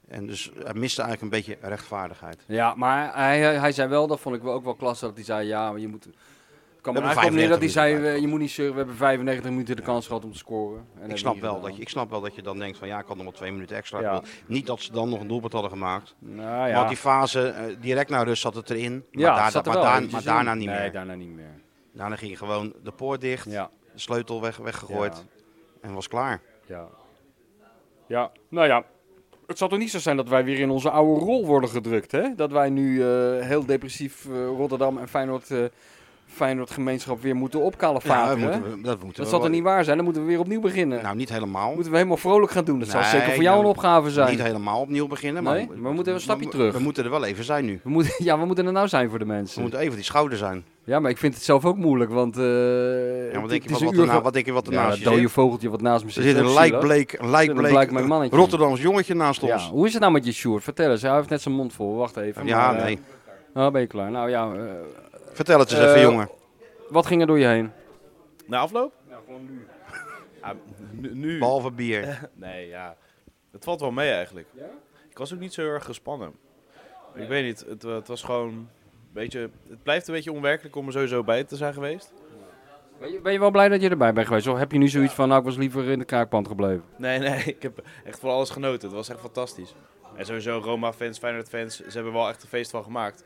[SPEAKER 1] En dus hij miste eigenlijk een beetje rechtvaardigheid.
[SPEAKER 2] Ja, maar hij, hij zei wel, dat vond ik wel ook wel klasse, dat hij zei, ja, maar je moet... Het kwam er
[SPEAKER 1] hebben
[SPEAKER 2] eigenlijk op neer dat
[SPEAKER 1] 95
[SPEAKER 2] hij zei,
[SPEAKER 1] minuten
[SPEAKER 2] eh, je moet niet zeuren, we hebben 95 minuten de kans gehad om te scoren. En
[SPEAKER 1] Ik snap, wel dat je, ik snap wel dat je dan denkt van, ja, ik had nog maar twee minuten extra.
[SPEAKER 2] Ja.
[SPEAKER 1] Ik bedoel, Niet dat ze dan nog een doelpunt hadden gemaakt.
[SPEAKER 2] Nou ja,
[SPEAKER 1] Want die fase, eh, direct naar rust zat het erin. Maar,
[SPEAKER 2] ja,
[SPEAKER 1] daar-
[SPEAKER 2] het zat er
[SPEAKER 1] maar,
[SPEAKER 2] wel
[SPEAKER 1] daar-
[SPEAKER 2] eventjes
[SPEAKER 1] maar daarna
[SPEAKER 2] in.
[SPEAKER 1] niet
[SPEAKER 2] Nee,
[SPEAKER 1] meer.
[SPEAKER 2] daarna niet meer.
[SPEAKER 1] Daarna ging gewoon de poort dicht,
[SPEAKER 2] Ja,
[SPEAKER 1] de sleutel weg, weggegooid
[SPEAKER 2] Ja.
[SPEAKER 1] en was klaar.
[SPEAKER 2] ja. Ja, nou ja. Het zal toch niet zo zijn dat wij weer in onze oude rol worden gedrukt, hè? Dat wij nu eh, heel depressief eh, Rotterdam en Feyenoord, eh, Feyenoord gemeenschap weer moeten
[SPEAKER 1] Ja, dat
[SPEAKER 2] opkalefateren.
[SPEAKER 1] moeten we- dat moeten
[SPEAKER 2] dat
[SPEAKER 1] we
[SPEAKER 2] zal
[SPEAKER 1] wel-
[SPEAKER 2] toch niet waar zijn? Dan moeten we weer opnieuw beginnen.
[SPEAKER 1] Nou, niet helemaal.
[SPEAKER 2] moeten we helemaal vrolijk gaan doen. Dat zal
[SPEAKER 1] Nee,
[SPEAKER 2] zeker voor jou
[SPEAKER 1] nou,
[SPEAKER 2] een opgave zijn.
[SPEAKER 1] Niet helemaal opnieuw beginnen, maar
[SPEAKER 2] Nee, we moeten even een stapje terug.
[SPEAKER 1] We moeten er wel even zijn nu.
[SPEAKER 2] We moeten, ja, we moeten er nou zijn voor de
[SPEAKER 1] We
[SPEAKER 2] mensen.
[SPEAKER 1] moeten even die schouder zijn.
[SPEAKER 2] Ja, maar ik vind het zelf ook moeilijk, want... eh
[SPEAKER 1] Ja,
[SPEAKER 2] het-
[SPEAKER 1] wat denk je
[SPEAKER 2] het is
[SPEAKER 1] wat,
[SPEAKER 2] een
[SPEAKER 1] wat,
[SPEAKER 2] uur
[SPEAKER 1] erna,
[SPEAKER 2] ge-
[SPEAKER 1] wat denk je wat
[SPEAKER 2] Ja,
[SPEAKER 1] ernaast
[SPEAKER 2] dat
[SPEAKER 1] je
[SPEAKER 2] dode
[SPEAKER 1] zit?
[SPEAKER 2] vogeltje wat naast me zit.
[SPEAKER 1] Er zit
[SPEAKER 2] is
[SPEAKER 1] een
[SPEAKER 2] ook zielig.
[SPEAKER 1] lijkbleek, een
[SPEAKER 2] Een
[SPEAKER 1] lijkbleek
[SPEAKER 2] blijkbaar mannetje.
[SPEAKER 1] Rotterdams jongetje naast ons.
[SPEAKER 2] Ja, hoe is het nou met je Sjoerd? Vertel eens, hij heeft net zijn mond vol. Wacht even.
[SPEAKER 1] Ja,
[SPEAKER 2] maar, eh,
[SPEAKER 1] nee.
[SPEAKER 2] nou, ben je klaar. Nou ja, eh,
[SPEAKER 1] Vertel het eens
[SPEAKER 2] eh,
[SPEAKER 1] even, jongen.
[SPEAKER 2] wat ging er door je heen?
[SPEAKER 3] Na afloop? Ja, nu. nu.
[SPEAKER 1] Behalve bier.
[SPEAKER 3] Nee, ja. Het valt wel mee eigenlijk. Ik was ook niet zo heel erg gespannen. Ik weet niet, het, eh, het was gewoon een beetje... Het blijft een beetje onwerkelijk om er sowieso bij te zijn geweest.
[SPEAKER 2] Ben je, ben je wel blij dat je erbij bent geweest? Of heb je nu zoiets van, nou, ik was liever in de kraakpand gebleven?
[SPEAKER 3] Nee, nee, ik heb echt van alles genoten. Het was echt fantastisch. En sowieso Roma-fans, Feyenoord-fans, ze hebben er wel echt een feest van gemaakt.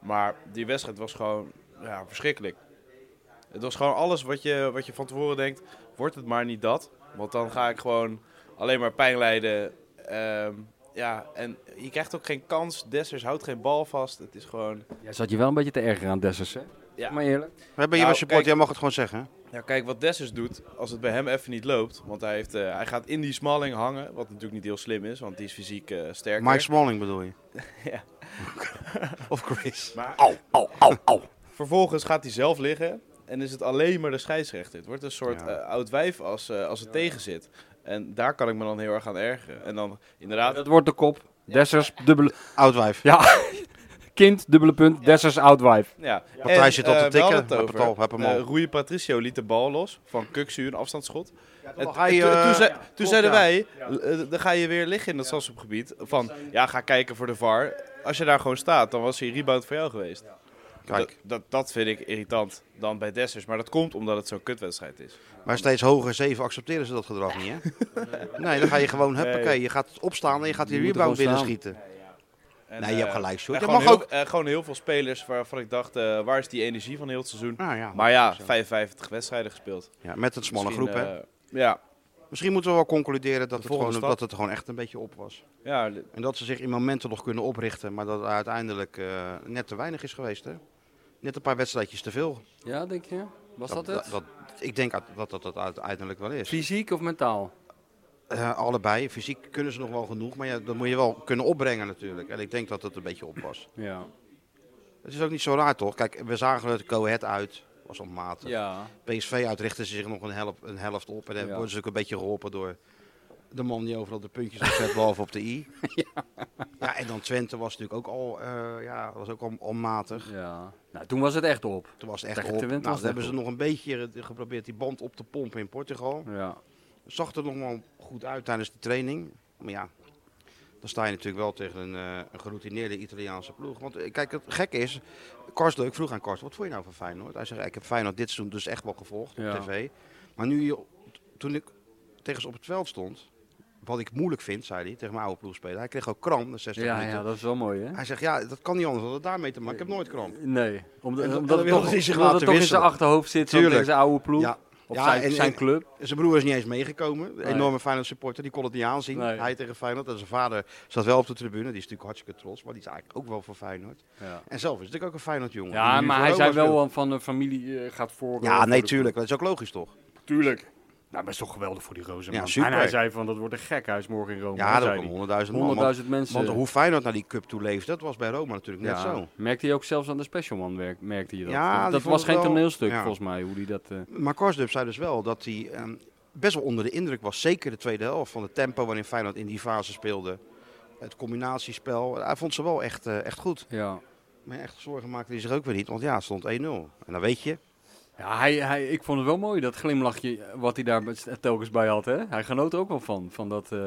[SPEAKER 3] Maar die wedstrijd was gewoon ja, verschrikkelijk. Het was gewoon alles wat je, wat je van tevoren denkt, wordt het maar niet dat. Want dan ga ik gewoon alleen maar pijn lijden. Ehm, ja, en je krijgt ook geen kans. Dessers houdt geen bal vast. Het is gewoon...
[SPEAKER 2] Jij zat je wel een beetje te erger aan Dessers, hè?
[SPEAKER 3] Ja.
[SPEAKER 2] Maar eerlijk.
[SPEAKER 1] Wij ben je
[SPEAKER 3] Nou,
[SPEAKER 1] wel support,
[SPEAKER 3] kijk.
[SPEAKER 1] jij mag het gewoon zeggen.
[SPEAKER 3] Ja, kijk, wat Dessers doet, als het bij hem even niet loopt... Want hij, heeft, eh, hij gaat in die smalling hangen, wat natuurlijk niet heel slim is. Want die is fysiek eh sterker.
[SPEAKER 1] Mike Smalling bedoel je?
[SPEAKER 3] Ja.
[SPEAKER 1] of Chris.
[SPEAKER 3] Maar Vervolgens gaat hij zelf liggen en is het alleen maar de scheidsrechter. Het wordt een soort
[SPEAKER 1] Ja.
[SPEAKER 3] eh, oud wijf als, eh, als het tegen zit. En daar kan ik me dan heel erg aan ergeren. En dan inderdaad,
[SPEAKER 2] Dat wordt de kop. Dessers, dubbele...
[SPEAKER 1] Oudwijf.
[SPEAKER 2] Ja, kind, dubbele punt, Dessers outwife.
[SPEAKER 3] Ja.
[SPEAKER 1] Partij
[SPEAKER 3] En,
[SPEAKER 1] zit al te
[SPEAKER 3] eh, we hadden
[SPEAKER 1] tikken.
[SPEAKER 3] het
[SPEAKER 1] Heb het al, heb hem
[SPEAKER 3] Eh,
[SPEAKER 1] al.
[SPEAKER 3] Rui Patricio liet de bal los van Kuksu, een afstandsschot.
[SPEAKER 1] lag
[SPEAKER 3] En toen-
[SPEAKER 1] hij,
[SPEAKER 3] toen-
[SPEAKER 1] eh,
[SPEAKER 3] toen zei-
[SPEAKER 1] ja,
[SPEAKER 3] Toen
[SPEAKER 1] klopt,
[SPEAKER 3] zeiden
[SPEAKER 1] ja.
[SPEAKER 3] wij, eh, dan ga je weer liggen in dat Sassopgebied. Van, ja, ga kijken voor de VAR. Als je daar gewoon staat, dan was hij rebound voor jou geweest. Dat,
[SPEAKER 1] Kijk,
[SPEAKER 3] dat, dat vind ik irritant dan bij Dessers. Maar dat komt omdat het zo'n kutwedstrijd is.
[SPEAKER 1] maar steeds hoger zeven accepteren ze dat gedrag niet, hè? Nee, dan ga je gewoon, huppakee, je gaat opstaan en je gaat die
[SPEAKER 2] Je moet er
[SPEAKER 1] rebound
[SPEAKER 2] gewoon
[SPEAKER 1] binnen
[SPEAKER 2] staan.
[SPEAKER 1] schieten.
[SPEAKER 3] En,
[SPEAKER 1] Nee, je hebt
[SPEAKER 3] eh,
[SPEAKER 1] gelijk, Sjoerd.
[SPEAKER 3] en
[SPEAKER 1] Je
[SPEAKER 3] gewoon,
[SPEAKER 1] mag
[SPEAKER 3] heel,
[SPEAKER 1] ook...
[SPEAKER 3] eh, gewoon heel veel spelers waarvan ik dacht, eh, waar is die energie van heel het seizoen?
[SPEAKER 1] Nou ja,
[SPEAKER 3] Maar ja,
[SPEAKER 1] zo.
[SPEAKER 3] 55 wedstrijden gespeeld.
[SPEAKER 1] Ja, met een smalle
[SPEAKER 3] Misschien,
[SPEAKER 1] groep, hè?
[SPEAKER 3] eh, ja,
[SPEAKER 1] Misschien moeten we wel concluderen dat het,
[SPEAKER 3] volgende
[SPEAKER 1] gewoon,
[SPEAKER 3] stap.
[SPEAKER 1] dat het gewoon echt een beetje op was.
[SPEAKER 3] ja,
[SPEAKER 1] En dat ze zich in momenten nog kunnen oprichten, maar dat het uiteindelijk eh, net te weinig is geweest, hè? Net een paar wedstrijdjes te veel.
[SPEAKER 2] Ja, denk je? Was dat, het?
[SPEAKER 1] ik denk uit- dat dat het uiteindelijk wel is.
[SPEAKER 2] Fysiek of mentaal?
[SPEAKER 1] Eh, allebei, fysiek kunnen ze nog wel genoeg, maar ja, dat moet je wel kunnen opbrengen natuurlijk. En ik denk dat het een beetje op was.
[SPEAKER 2] Ja.
[SPEAKER 1] Het is ook niet zo raar toch? Kijk, we zagen het Coët uit, was onmatig.
[SPEAKER 2] Ja.
[SPEAKER 1] PSV uit richtten ze zich nog een, help, een helft op. En dan
[SPEAKER 2] Ja.
[SPEAKER 1] worden ze ook een beetje geholpen door de man die overal de puntjes op zet, behalve op de i. ja. en dan Twente was natuurlijk ook al, eh, ja, was ook al onmatig.
[SPEAKER 2] ja. Nou, toen was het echt op.
[SPEAKER 1] Toen was het echt
[SPEAKER 2] Tegen
[SPEAKER 1] op.
[SPEAKER 2] Twente
[SPEAKER 1] Nou,
[SPEAKER 2] was
[SPEAKER 1] toen
[SPEAKER 2] het
[SPEAKER 1] hebben
[SPEAKER 2] echt
[SPEAKER 1] ze nog een beetje eh, geprobeerd die band op te pompen in Portugal.
[SPEAKER 2] Ja.
[SPEAKER 1] Zag er nog wel goed uit tijdens de training. Maar ja, dan sta je natuurlijk wel tegen een, eh, een geroutineerde Italiaanse ploeg. Want eh, kijk, het gekke is, Karsten, ik vroeg aan Karsten, wat vond je nou van Feyenoord? Hij zegt, ik heb Feyenoord dit seizoen dus echt wel gevolgd
[SPEAKER 2] Ja.
[SPEAKER 1] op tv. Maar nu, je- toen ik tegen ze op het veld stond, wat ik moeilijk vind, zei hij, tegen mijn oude ploegspeler. Hij kreeg ook kramp na 60
[SPEAKER 2] Dus Ja,
[SPEAKER 1] minuten.
[SPEAKER 2] ja, dat is wel mooi, hè?
[SPEAKER 1] Hij zegt, ja, dat kan niet anders dan dat daarmee te maken. Ik heb nooit kramp.
[SPEAKER 2] Nee. Omdat,
[SPEAKER 1] En dan-
[SPEAKER 2] omdat
[SPEAKER 1] dan
[SPEAKER 2] het
[SPEAKER 1] wilde
[SPEAKER 2] toch,
[SPEAKER 1] hij zich laten
[SPEAKER 2] omdat het toch in zijn
[SPEAKER 1] wisselen.
[SPEAKER 2] achterhoofd zit, zo
[SPEAKER 1] Tuurlijk.
[SPEAKER 2] tegen zijn oude ploeg.
[SPEAKER 1] Ja.
[SPEAKER 2] Of
[SPEAKER 1] Ja,
[SPEAKER 2] zijn,
[SPEAKER 1] en-
[SPEAKER 2] zijn
[SPEAKER 1] en-
[SPEAKER 2] club.
[SPEAKER 1] Zijn broer is niet eens meegekomen. Een
[SPEAKER 2] Nee.
[SPEAKER 1] enorme Feyenoord supporter, die kon het niet aanzien.
[SPEAKER 2] Nee.
[SPEAKER 1] Hij tegen Feyenoord. En zijn vader zat wel op de tribune. Die is natuurlijk hartstikke trots, maar die is eigenlijk ook wel voor Feyenoord.
[SPEAKER 2] Ja,
[SPEAKER 1] En zelf is natuurlijk ook een Feyenoord jongen.
[SPEAKER 2] ja maar hij zei wel eh, van de familie eh, gaat voor. eh,
[SPEAKER 1] Ja,
[SPEAKER 2] voor
[SPEAKER 1] nee,
[SPEAKER 2] de-
[SPEAKER 1] tuurlijk. Dat is ook logisch, toch?
[SPEAKER 2] Tuurlijk. Nou, maar is toch geweldig voor die rozen.
[SPEAKER 1] Ja,
[SPEAKER 2] man.
[SPEAKER 1] super.
[SPEAKER 2] En hij zei van dat wordt een gekhuis morgen in Rome.
[SPEAKER 1] Ja, dat
[SPEAKER 2] zei
[SPEAKER 1] komt
[SPEAKER 2] hij.
[SPEAKER 1] 100.000 man. Want,
[SPEAKER 2] 100.000 mensen.
[SPEAKER 1] want hoe Feyenoord naar die cup toe leeft, dat was bij Roma natuurlijk net
[SPEAKER 2] Ja.
[SPEAKER 1] zo.
[SPEAKER 2] Merkte hij ook zelfs aan de Special Man, werk, merkte hij dat.
[SPEAKER 1] Ja,
[SPEAKER 2] dat
[SPEAKER 1] die
[SPEAKER 2] dat
[SPEAKER 1] vond
[SPEAKER 2] was
[SPEAKER 1] het
[SPEAKER 2] geen
[SPEAKER 1] wel-
[SPEAKER 2] toneelstuk
[SPEAKER 1] ja.
[SPEAKER 2] volgens mij, hoe die dat... eh,
[SPEAKER 1] Maar Karsdub zei dus wel dat hij ehm, best wel onder de indruk was. Zeker de tweede helft van het tempo waarin Feyenoord in die fase speelde. Het combinatiespel. Hij vond ze wel echt, eh, echt goed.
[SPEAKER 2] ja.
[SPEAKER 1] Maar echt zorgen maakte hij zich ook weer niet. Want ja, het stond 1-0. En dan weet je,
[SPEAKER 2] Ja, hij, hij, ik vond het wel mooi, dat glimlachje eh, wat hij daar met- telkens bij had. Hè? Hij genoot er ook wel van, van dat... eh,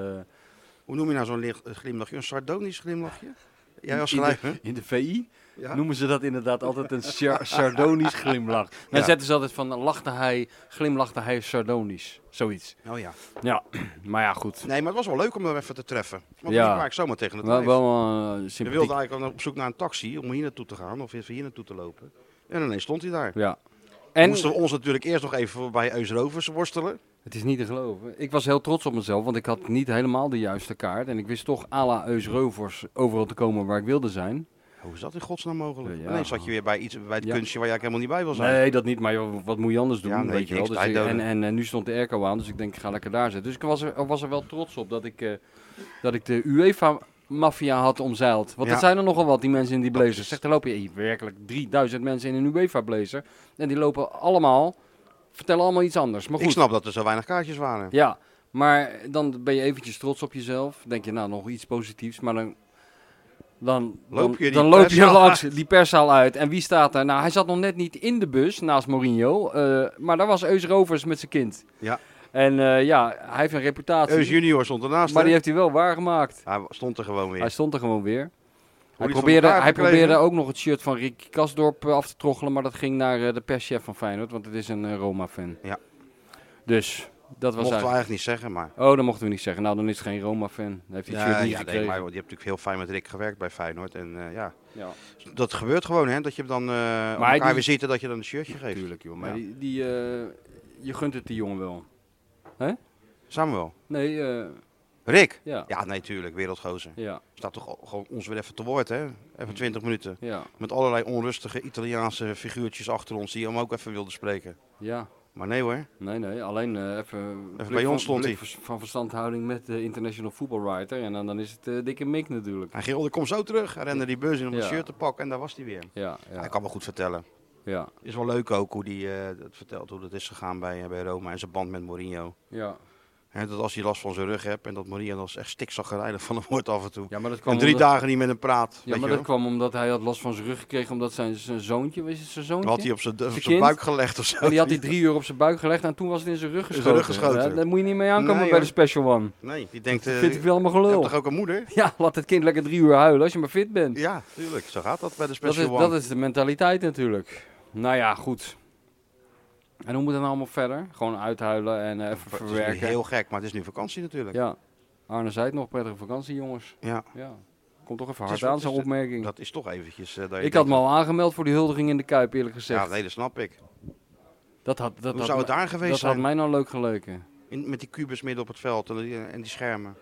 [SPEAKER 1] Hoe noem je nou zo'n licht- eh, glimlachje? Een sardonisch glimlachje? Jij als
[SPEAKER 2] in, de,
[SPEAKER 1] schrijver?
[SPEAKER 2] in de VI
[SPEAKER 1] Ja.
[SPEAKER 2] noemen ze dat inderdaad altijd een sar- sardonisch glimlach. Dan
[SPEAKER 1] Ja.
[SPEAKER 2] zetten ze altijd van, lachte hij, glimlachte hij sardonisch. Zoiets.
[SPEAKER 1] Oh ja.
[SPEAKER 2] Ja, maar ja, goed.
[SPEAKER 1] Nee, maar het was wel leuk om hem even te treffen. Want
[SPEAKER 2] Ja.
[SPEAKER 1] ja. ik zomaar tegen het
[SPEAKER 2] Wel,
[SPEAKER 1] lijf.
[SPEAKER 2] wel eh,
[SPEAKER 1] We
[SPEAKER 2] sympathiek.
[SPEAKER 1] wilden eigenlijk al op zoek naar een taxi om hier naartoe te gaan of even hier naartoe te lopen. En ineens stond hij daar.
[SPEAKER 2] Ja.
[SPEAKER 1] En...
[SPEAKER 2] En
[SPEAKER 1] Moesten we ons natuurlijk eerst nog even bij Eus Rovers worstelen.
[SPEAKER 2] het is niet te geloven. Ik was heel trots op mezelf, want ik had niet helemaal de juiste kaart. En ik wist toch à la Eus Rovers overal te komen waar ik wilde zijn.
[SPEAKER 1] Hoe is dat in godsnaam mogelijk?
[SPEAKER 2] Ja.
[SPEAKER 1] Ineens zat je weer bij, iets, bij het
[SPEAKER 2] Ja.
[SPEAKER 1] kunstje waar jij eigenlijk helemaal niet bij wil zijn.
[SPEAKER 2] Nee, dat niet, maar joh, wat moet je anders doen?
[SPEAKER 1] Ja, nee,
[SPEAKER 2] weet je wel.
[SPEAKER 1] niks,
[SPEAKER 2] Dus
[SPEAKER 1] tijd
[SPEAKER 2] ik-
[SPEAKER 1] doden.
[SPEAKER 2] en, en, eh, nu stond de airco aan, dus ik denk ik ga lekker daar zitten. Dus ik was er, was er wel trots op dat ik, eh, dat ik de UEFA-maffia had omzeild. Want
[SPEAKER 1] Ja.
[SPEAKER 2] er zijn er nogal wat, die mensen in die blazers. Zeg, er lopen hier werkelijk 3000 mensen in een UEFA-blazer. En die lopen allemaal, vertellen allemaal iets anders. Maar goed,
[SPEAKER 1] ik snap dat er zo weinig kaartjes waren.
[SPEAKER 2] Ja, maar dan ben je eventjes trots op jezelf. Denk je, nou, nog iets positiefs. Maar dan, dan,
[SPEAKER 1] Loop
[SPEAKER 2] dan-
[SPEAKER 1] je die
[SPEAKER 2] dan loop je
[SPEAKER 1] perszaal
[SPEAKER 2] langs die perszaal uit. En wie staat daar? Nou, hij zat nog net niet in de bus naast Mourinho. eh, maar daar was Eus Rovers met zijn kind.
[SPEAKER 1] Ja.
[SPEAKER 2] En eh, ja, hij heeft een reputatie.
[SPEAKER 1] Eus Junior stond ernaast.
[SPEAKER 2] maar
[SPEAKER 1] hè?
[SPEAKER 2] die heeft hij wel waargemaakt.
[SPEAKER 1] Hij stond er gewoon weer.
[SPEAKER 2] Hij stond er gewoon weer. Hij
[SPEAKER 1] Hoe die
[SPEAKER 2] probeerde,
[SPEAKER 1] van elkaar
[SPEAKER 2] hij
[SPEAKER 1] gekleven.
[SPEAKER 2] probeerde ook nog het shirt van Rick Kasdorp eh, af te troggelen, maar dat ging naar eh, de perschef van Feyenoord, want het is een eh, Roma-fan.
[SPEAKER 1] Ja.
[SPEAKER 2] Dus, dat
[SPEAKER 1] Mochten we
[SPEAKER 2] was eigenlijk...
[SPEAKER 1] eigenlijk niet zeggen, maar...
[SPEAKER 2] Oh, dat mochten we niet zeggen. Nou, dan is het geen Roma-fan. Dan heeft hij het shirt
[SPEAKER 1] Ja,
[SPEAKER 2] niet
[SPEAKER 1] ja, nee,
[SPEAKER 2] gekregen.
[SPEAKER 1] maar je hebt natuurlijk heel fijn met Rick gewerkt bij Feyenoord. En eh, ja,
[SPEAKER 2] Ja,
[SPEAKER 1] Dat gebeurt gewoon, hè? Dat je hem dan eh elkaar
[SPEAKER 2] die-
[SPEAKER 1] weer ziet en dat je dan een shirtje geeft.
[SPEAKER 2] tuurlijk joh. Maar
[SPEAKER 1] Ja.
[SPEAKER 2] die, die, eh, je gunt het die jongen wel.
[SPEAKER 1] Samuel.
[SPEAKER 2] Nee, eh,
[SPEAKER 1] Rick?
[SPEAKER 2] ja.
[SPEAKER 1] Ja, nee, tuurlijk. Wereldgozer.
[SPEAKER 2] Ja,
[SPEAKER 1] Staat toch al- gewoon ons weer even te woord, hè? Even 20 minuten.
[SPEAKER 2] ja,
[SPEAKER 1] Met allerlei onrustige Italiaanse figuurtjes achter ons die hem ook even wilden spreken.
[SPEAKER 2] ja.
[SPEAKER 1] Maar nee hoor.
[SPEAKER 2] Nee, nee. Alleen eh, even... blik
[SPEAKER 1] bij ons
[SPEAKER 2] van-
[SPEAKER 1] stond
[SPEAKER 2] blik
[SPEAKER 1] hij.
[SPEAKER 2] vers- Van verstandhouding met de International Football Writer. En dan, dan is het eh, dikke mik natuurlijk.
[SPEAKER 1] Hij gilde, kom zo terug. Hij rende die bus in om het
[SPEAKER 2] Ja.
[SPEAKER 1] shirt te pakken en daar was hij weer.
[SPEAKER 2] Ja, ja,
[SPEAKER 1] Hij kan wel goed vertellen.
[SPEAKER 2] ja.
[SPEAKER 1] Is eh, wel leuk ook hoe hij eh, dat vertelt, hoe dat is gegaan bij, bij Roma en zijn band met Mourinho.
[SPEAKER 2] ja.
[SPEAKER 1] Hè, dat als hij last van zijn rug hebt en dat Maria dan echt stikzagrijnig van hem wordt af en toe.
[SPEAKER 2] Ja, maar dat kwam
[SPEAKER 1] En drie
[SPEAKER 2] omdat,
[SPEAKER 1] dagen niet met hem praat.
[SPEAKER 2] ja,
[SPEAKER 1] weet
[SPEAKER 2] maar
[SPEAKER 1] je
[SPEAKER 2] dat
[SPEAKER 1] wel.
[SPEAKER 2] kwam omdat hij had last van zijn rug gekregen omdat zijn, zijn zoontje, was het zijn zoontje?
[SPEAKER 1] had hij op zijn, op
[SPEAKER 2] Zijn
[SPEAKER 1] zijn
[SPEAKER 2] kind?
[SPEAKER 1] buik gelegd of zo.
[SPEAKER 2] En die had hij drie uur op zijn buik gelegd en toen was het in zijn rug
[SPEAKER 1] zijn
[SPEAKER 2] geschoten.
[SPEAKER 1] rug geschoten.
[SPEAKER 2] Ja, daar moet je niet mee aankomen
[SPEAKER 1] Nee,
[SPEAKER 2] bij
[SPEAKER 1] hoor.
[SPEAKER 2] de Special One.
[SPEAKER 1] Nee, die denkt, eh,
[SPEAKER 2] Vind ik
[SPEAKER 1] je
[SPEAKER 2] wel allemaal gelul.
[SPEAKER 1] hebt toch ook een moeder?
[SPEAKER 2] Ja, laat het kind lekker drie uur huilen als je maar fit bent.
[SPEAKER 1] Ja, tuurlijk. Zo gaat dat bij de
[SPEAKER 2] Dat
[SPEAKER 1] Special
[SPEAKER 2] is,
[SPEAKER 1] One.
[SPEAKER 2] dat is de mentaliteit natuurlijk. Nou ja, goed. En hoe moet het nou allemaal verder? Gewoon uithuilen en eh, even
[SPEAKER 1] Het is nu
[SPEAKER 2] verwerken.
[SPEAKER 1] heel gek, maar het is nu vakantie natuurlijk.
[SPEAKER 2] Ja. Arne zei het nog, prettige vakantie jongens.
[SPEAKER 1] Ja.
[SPEAKER 2] Ja. Komt toch even
[SPEAKER 1] Het is-
[SPEAKER 2] hard
[SPEAKER 1] het
[SPEAKER 2] aan,
[SPEAKER 1] is
[SPEAKER 2] zo'n
[SPEAKER 1] de-
[SPEAKER 2] opmerking.
[SPEAKER 1] Dat is toch eventjes... eh, dat je
[SPEAKER 2] ik had me
[SPEAKER 1] denkt,
[SPEAKER 2] al aangemeld voor die huldiging in de Kuip, eerlijk gezegd.
[SPEAKER 1] Ja, nee, dat snap ik.
[SPEAKER 2] dat had, dat
[SPEAKER 1] Hoe
[SPEAKER 2] had
[SPEAKER 1] zou
[SPEAKER 2] me-
[SPEAKER 1] het daar geweest
[SPEAKER 2] Dat had
[SPEAKER 1] zijn?
[SPEAKER 2] mij nou leuk geleken.
[SPEAKER 1] In- met die kubus midden op het veld en die, en die schermen.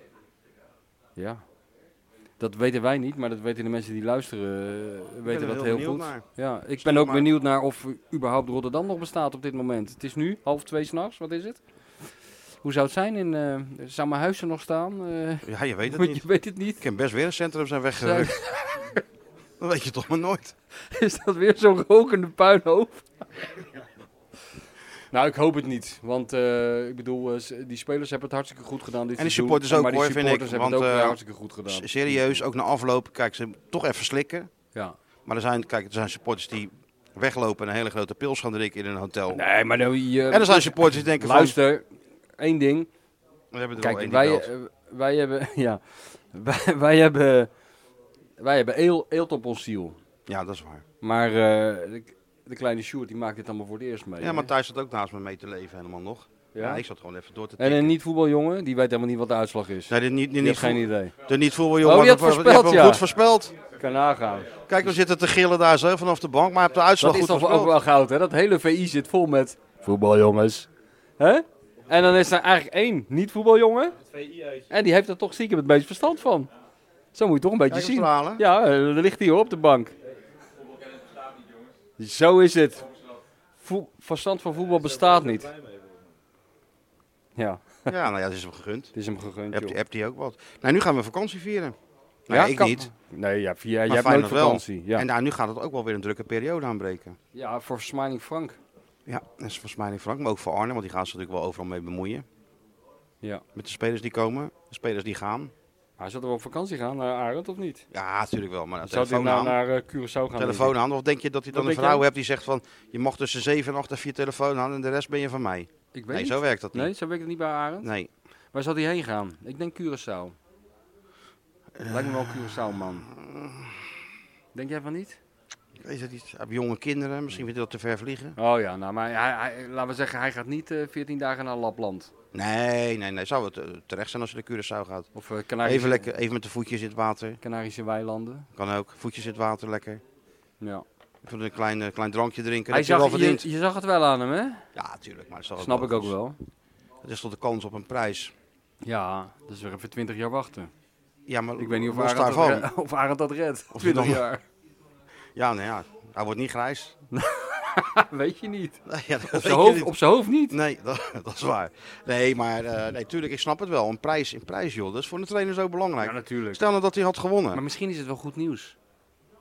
[SPEAKER 2] Ja. Dat weten wij niet, maar dat weten de mensen die luisteren, eh,
[SPEAKER 1] ben er
[SPEAKER 2] weten dat
[SPEAKER 1] heel
[SPEAKER 2] heel
[SPEAKER 1] benieuwd
[SPEAKER 2] goed.
[SPEAKER 1] naar.
[SPEAKER 2] Ja, ik
[SPEAKER 1] Stop
[SPEAKER 2] ben ook
[SPEAKER 1] maar.
[SPEAKER 2] benieuwd naar of überhaupt Rotterdam nog bestaat op dit moment. Het is nu half twee s'nachts, wat is het? Hoe zou het zijn in, eh zou mijn huis er nog staan? Eh,
[SPEAKER 1] Ja, je weet het
[SPEAKER 2] want je
[SPEAKER 1] niet.
[SPEAKER 2] weet het niet.
[SPEAKER 1] Ik kan best weer een centrum zijn
[SPEAKER 2] Zijn-
[SPEAKER 1] weggerukt. Dat weet je toch maar nooit.
[SPEAKER 2] Is dat weer zo'n rokende puinhoop? Nou, ik hoop het niet. Want eh, ik bedoel, eh, s- die spelers hebben het hartstikke goed gedaan dit
[SPEAKER 1] En die
[SPEAKER 2] seizoen.
[SPEAKER 1] supporters ook,
[SPEAKER 2] maar die
[SPEAKER 1] hoor, vind ik,
[SPEAKER 2] supporters hebben
[SPEAKER 1] want,
[SPEAKER 2] het ook
[SPEAKER 1] eh,
[SPEAKER 2] weer hartstikke goed gedaan.
[SPEAKER 1] S- Serieus, ook na afloop. Kijk, ze toch even slikken.
[SPEAKER 2] Ja.
[SPEAKER 1] Maar er zijn, kijk, er zijn supporters die weglopen en een hele grote pils gaan drinken in een hotel.
[SPEAKER 2] Nee, maar nou, je,
[SPEAKER 1] En er zijn supporters die denken
[SPEAKER 2] luister, één ding.
[SPEAKER 1] van... We hebben er al
[SPEAKER 2] Kijk,
[SPEAKER 1] één
[SPEAKER 2] wij,
[SPEAKER 1] die belt.
[SPEAKER 2] eh, wij hebben, ja, wij, wij hebben, wij hebben eel, eelt op ons ziel.
[SPEAKER 1] Ja, dat is waar.
[SPEAKER 2] Maar eh, de, de kleine Sjoerd die maakt dit allemaal voor het eerst mee.
[SPEAKER 1] Ja,
[SPEAKER 2] hè?
[SPEAKER 1] maar Thijs zat ook naast me mee te leven helemaal nog. Ja?
[SPEAKER 2] eh, Ja?
[SPEAKER 1] ik zat gewoon even door te
[SPEAKER 2] En
[SPEAKER 1] tikken.
[SPEAKER 2] een niet-voetbaljongen, die weet helemaal niet wat de uitslag is.
[SPEAKER 1] Nee, dit niet, dit
[SPEAKER 2] die
[SPEAKER 1] niet
[SPEAKER 2] heeft geen
[SPEAKER 1] voel-
[SPEAKER 2] idee.
[SPEAKER 1] De niet voetbal,
[SPEAKER 2] Oh,
[SPEAKER 1] jongen.
[SPEAKER 2] die had
[SPEAKER 1] dat was-
[SPEAKER 2] voorspeld,
[SPEAKER 1] hebt hem
[SPEAKER 2] ja.
[SPEAKER 1] goed voorspeld.
[SPEAKER 2] Kan nagaan.
[SPEAKER 1] Kijk, we zitten te gillen daar zo vanaf de bank, maar heb de uitslag
[SPEAKER 2] Dat is
[SPEAKER 1] goed
[SPEAKER 2] toch ook
[SPEAKER 1] voorspeld.
[SPEAKER 2] wel goud, hè? Dat hele VI zit vol met voetbaljongens. Hè? En dan is er eigenlijk één niet-voetbaljongen. En die heeft er toch stiekem het meest verstand van. Zo moet je toch een beetje
[SPEAKER 1] Kijk hem
[SPEAKER 2] zien.
[SPEAKER 1] stralen.
[SPEAKER 2] Ja, eh, daar ligt hij hoor, op de bank. Zo is het. Voe- verstand van voetbal bestaat niet. Ja,
[SPEAKER 1] Ja, nou ja, dat is hem gegund.
[SPEAKER 2] het is hem gegund.
[SPEAKER 1] Hebt
[SPEAKER 2] Joh.
[SPEAKER 1] hebt hij ook wat? Nou, nu gaan we vakantie vieren. Nou, ik
[SPEAKER 2] kan-
[SPEAKER 1] niet.
[SPEAKER 2] Nee, ja, via, jij
[SPEAKER 1] Maar
[SPEAKER 2] hebt nooit
[SPEAKER 1] Feyenoord wel.
[SPEAKER 2] vakantie. Ja.
[SPEAKER 1] En nou, nu gaat het ook wel weer een drukke periode aanbreken.
[SPEAKER 2] ja, voor Smiling Frank.
[SPEAKER 1] Ja, dat is volgens mij niet Frank, maar ook voor Arne, want die gaan ze natuurlijk wel overal mee bemoeien.
[SPEAKER 2] Ja.
[SPEAKER 1] Met de spelers die komen, de spelers die gaan.
[SPEAKER 2] Hij zou er wel op vakantie gaan naar Arend of niet?
[SPEAKER 1] Ja, natuurlijk wel, maar nou,
[SPEAKER 2] Zou hij
[SPEAKER 1] telefoon
[SPEAKER 2] nou
[SPEAKER 1] aan.
[SPEAKER 2] naar eh, Curaçao gaan? denk
[SPEAKER 1] Telefoon
[SPEAKER 2] ik?
[SPEAKER 1] aan, of denk je dat hij dan
[SPEAKER 2] Wat
[SPEAKER 1] een
[SPEAKER 2] denk
[SPEAKER 1] vrouw
[SPEAKER 2] jij?
[SPEAKER 1] hebt die zegt van je mag tussen 7 en 8 even je telefoon aan en de rest ben je van mij?
[SPEAKER 2] Ik weet
[SPEAKER 1] Nee,
[SPEAKER 2] niet.
[SPEAKER 1] zo werkt dat niet.
[SPEAKER 2] Nee, zo werkt het niet bij Arend.
[SPEAKER 1] Nee.
[SPEAKER 2] Waar zou hij heen gaan? Ik denk Curaçao.
[SPEAKER 1] Eh.
[SPEAKER 2] Lijkt me wel een Curaçao man. Denk jij van niet?
[SPEAKER 1] Ik weet het niet. Heb jonge kinderen, misschien vindt hij dat te ver vliegen.
[SPEAKER 2] Oh ja, nou, maar hij, hij- laten we zeggen, hij gaat niet eh 14 dagen naar Lapland.
[SPEAKER 1] Nee, nee, nee. Zou het eh, terecht zijn als je naar Curaçao gaat?
[SPEAKER 2] Of eh, Canarische,
[SPEAKER 1] Even, lekker, even met de voetjes in het water.
[SPEAKER 2] Canarische weilanden.
[SPEAKER 1] Kan ook. Voetjes in het water, lekker.
[SPEAKER 2] Ja.
[SPEAKER 1] Even een klein, eh, klein drankje drinken.
[SPEAKER 2] Hij
[SPEAKER 1] dat heb je
[SPEAKER 2] zag,
[SPEAKER 1] wel
[SPEAKER 2] je,
[SPEAKER 1] verdiend.
[SPEAKER 2] je zag het wel aan hem, hè?
[SPEAKER 1] Ja, tuurlijk. Maar dat is toch
[SPEAKER 2] Snap ik ook
[SPEAKER 1] goed.
[SPEAKER 2] wel.
[SPEAKER 1] Het is toch de kans op een prijs.
[SPEAKER 2] Ja, dus weer even 20 jaar wachten.
[SPEAKER 1] Ja, maar
[SPEAKER 2] Ik weet niet of
[SPEAKER 1] los
[SPEAKER 2] Arend, dat
[SPEAKER 1] daarvan.
[SPEAKER 2] red- of Arend dat redt.
[SPEAKER 1] hij
[SPEAKER 2] 20
[SPEAKER 1] dan-
[SPEAKER 2] jaar.
[SPEAKER 1] Ja, nou ja. Hij wordt niet grijs.
[SPEAKER 2] weet je niet.
[SPEAKER 1] Nee, ja, dat
[SPEAKER 2] Op
[SPEAKER 1] weet
[SPEAKER 2] zijn
[SPEAKER 1] je
[SPEAKER 2] hoofd,
[SPEAKER 1] niet.
[SPEAKER 2] op zijn hoofd niet.
[SPEAKER 1] Nee, dat, dat is waar. Nee, maar eh, nee, tuurlijk, ik snap het wel. Een prijs in prijs, joh. Dat is voor een trainer zo belangrijk.
[SPEAKER 2] Ja, natuurlijk.
[SPEAKER 1] Stel nou dat hij had gewonnen.
[SPEAKER 2] Maar misschien is het wel goed nieuws.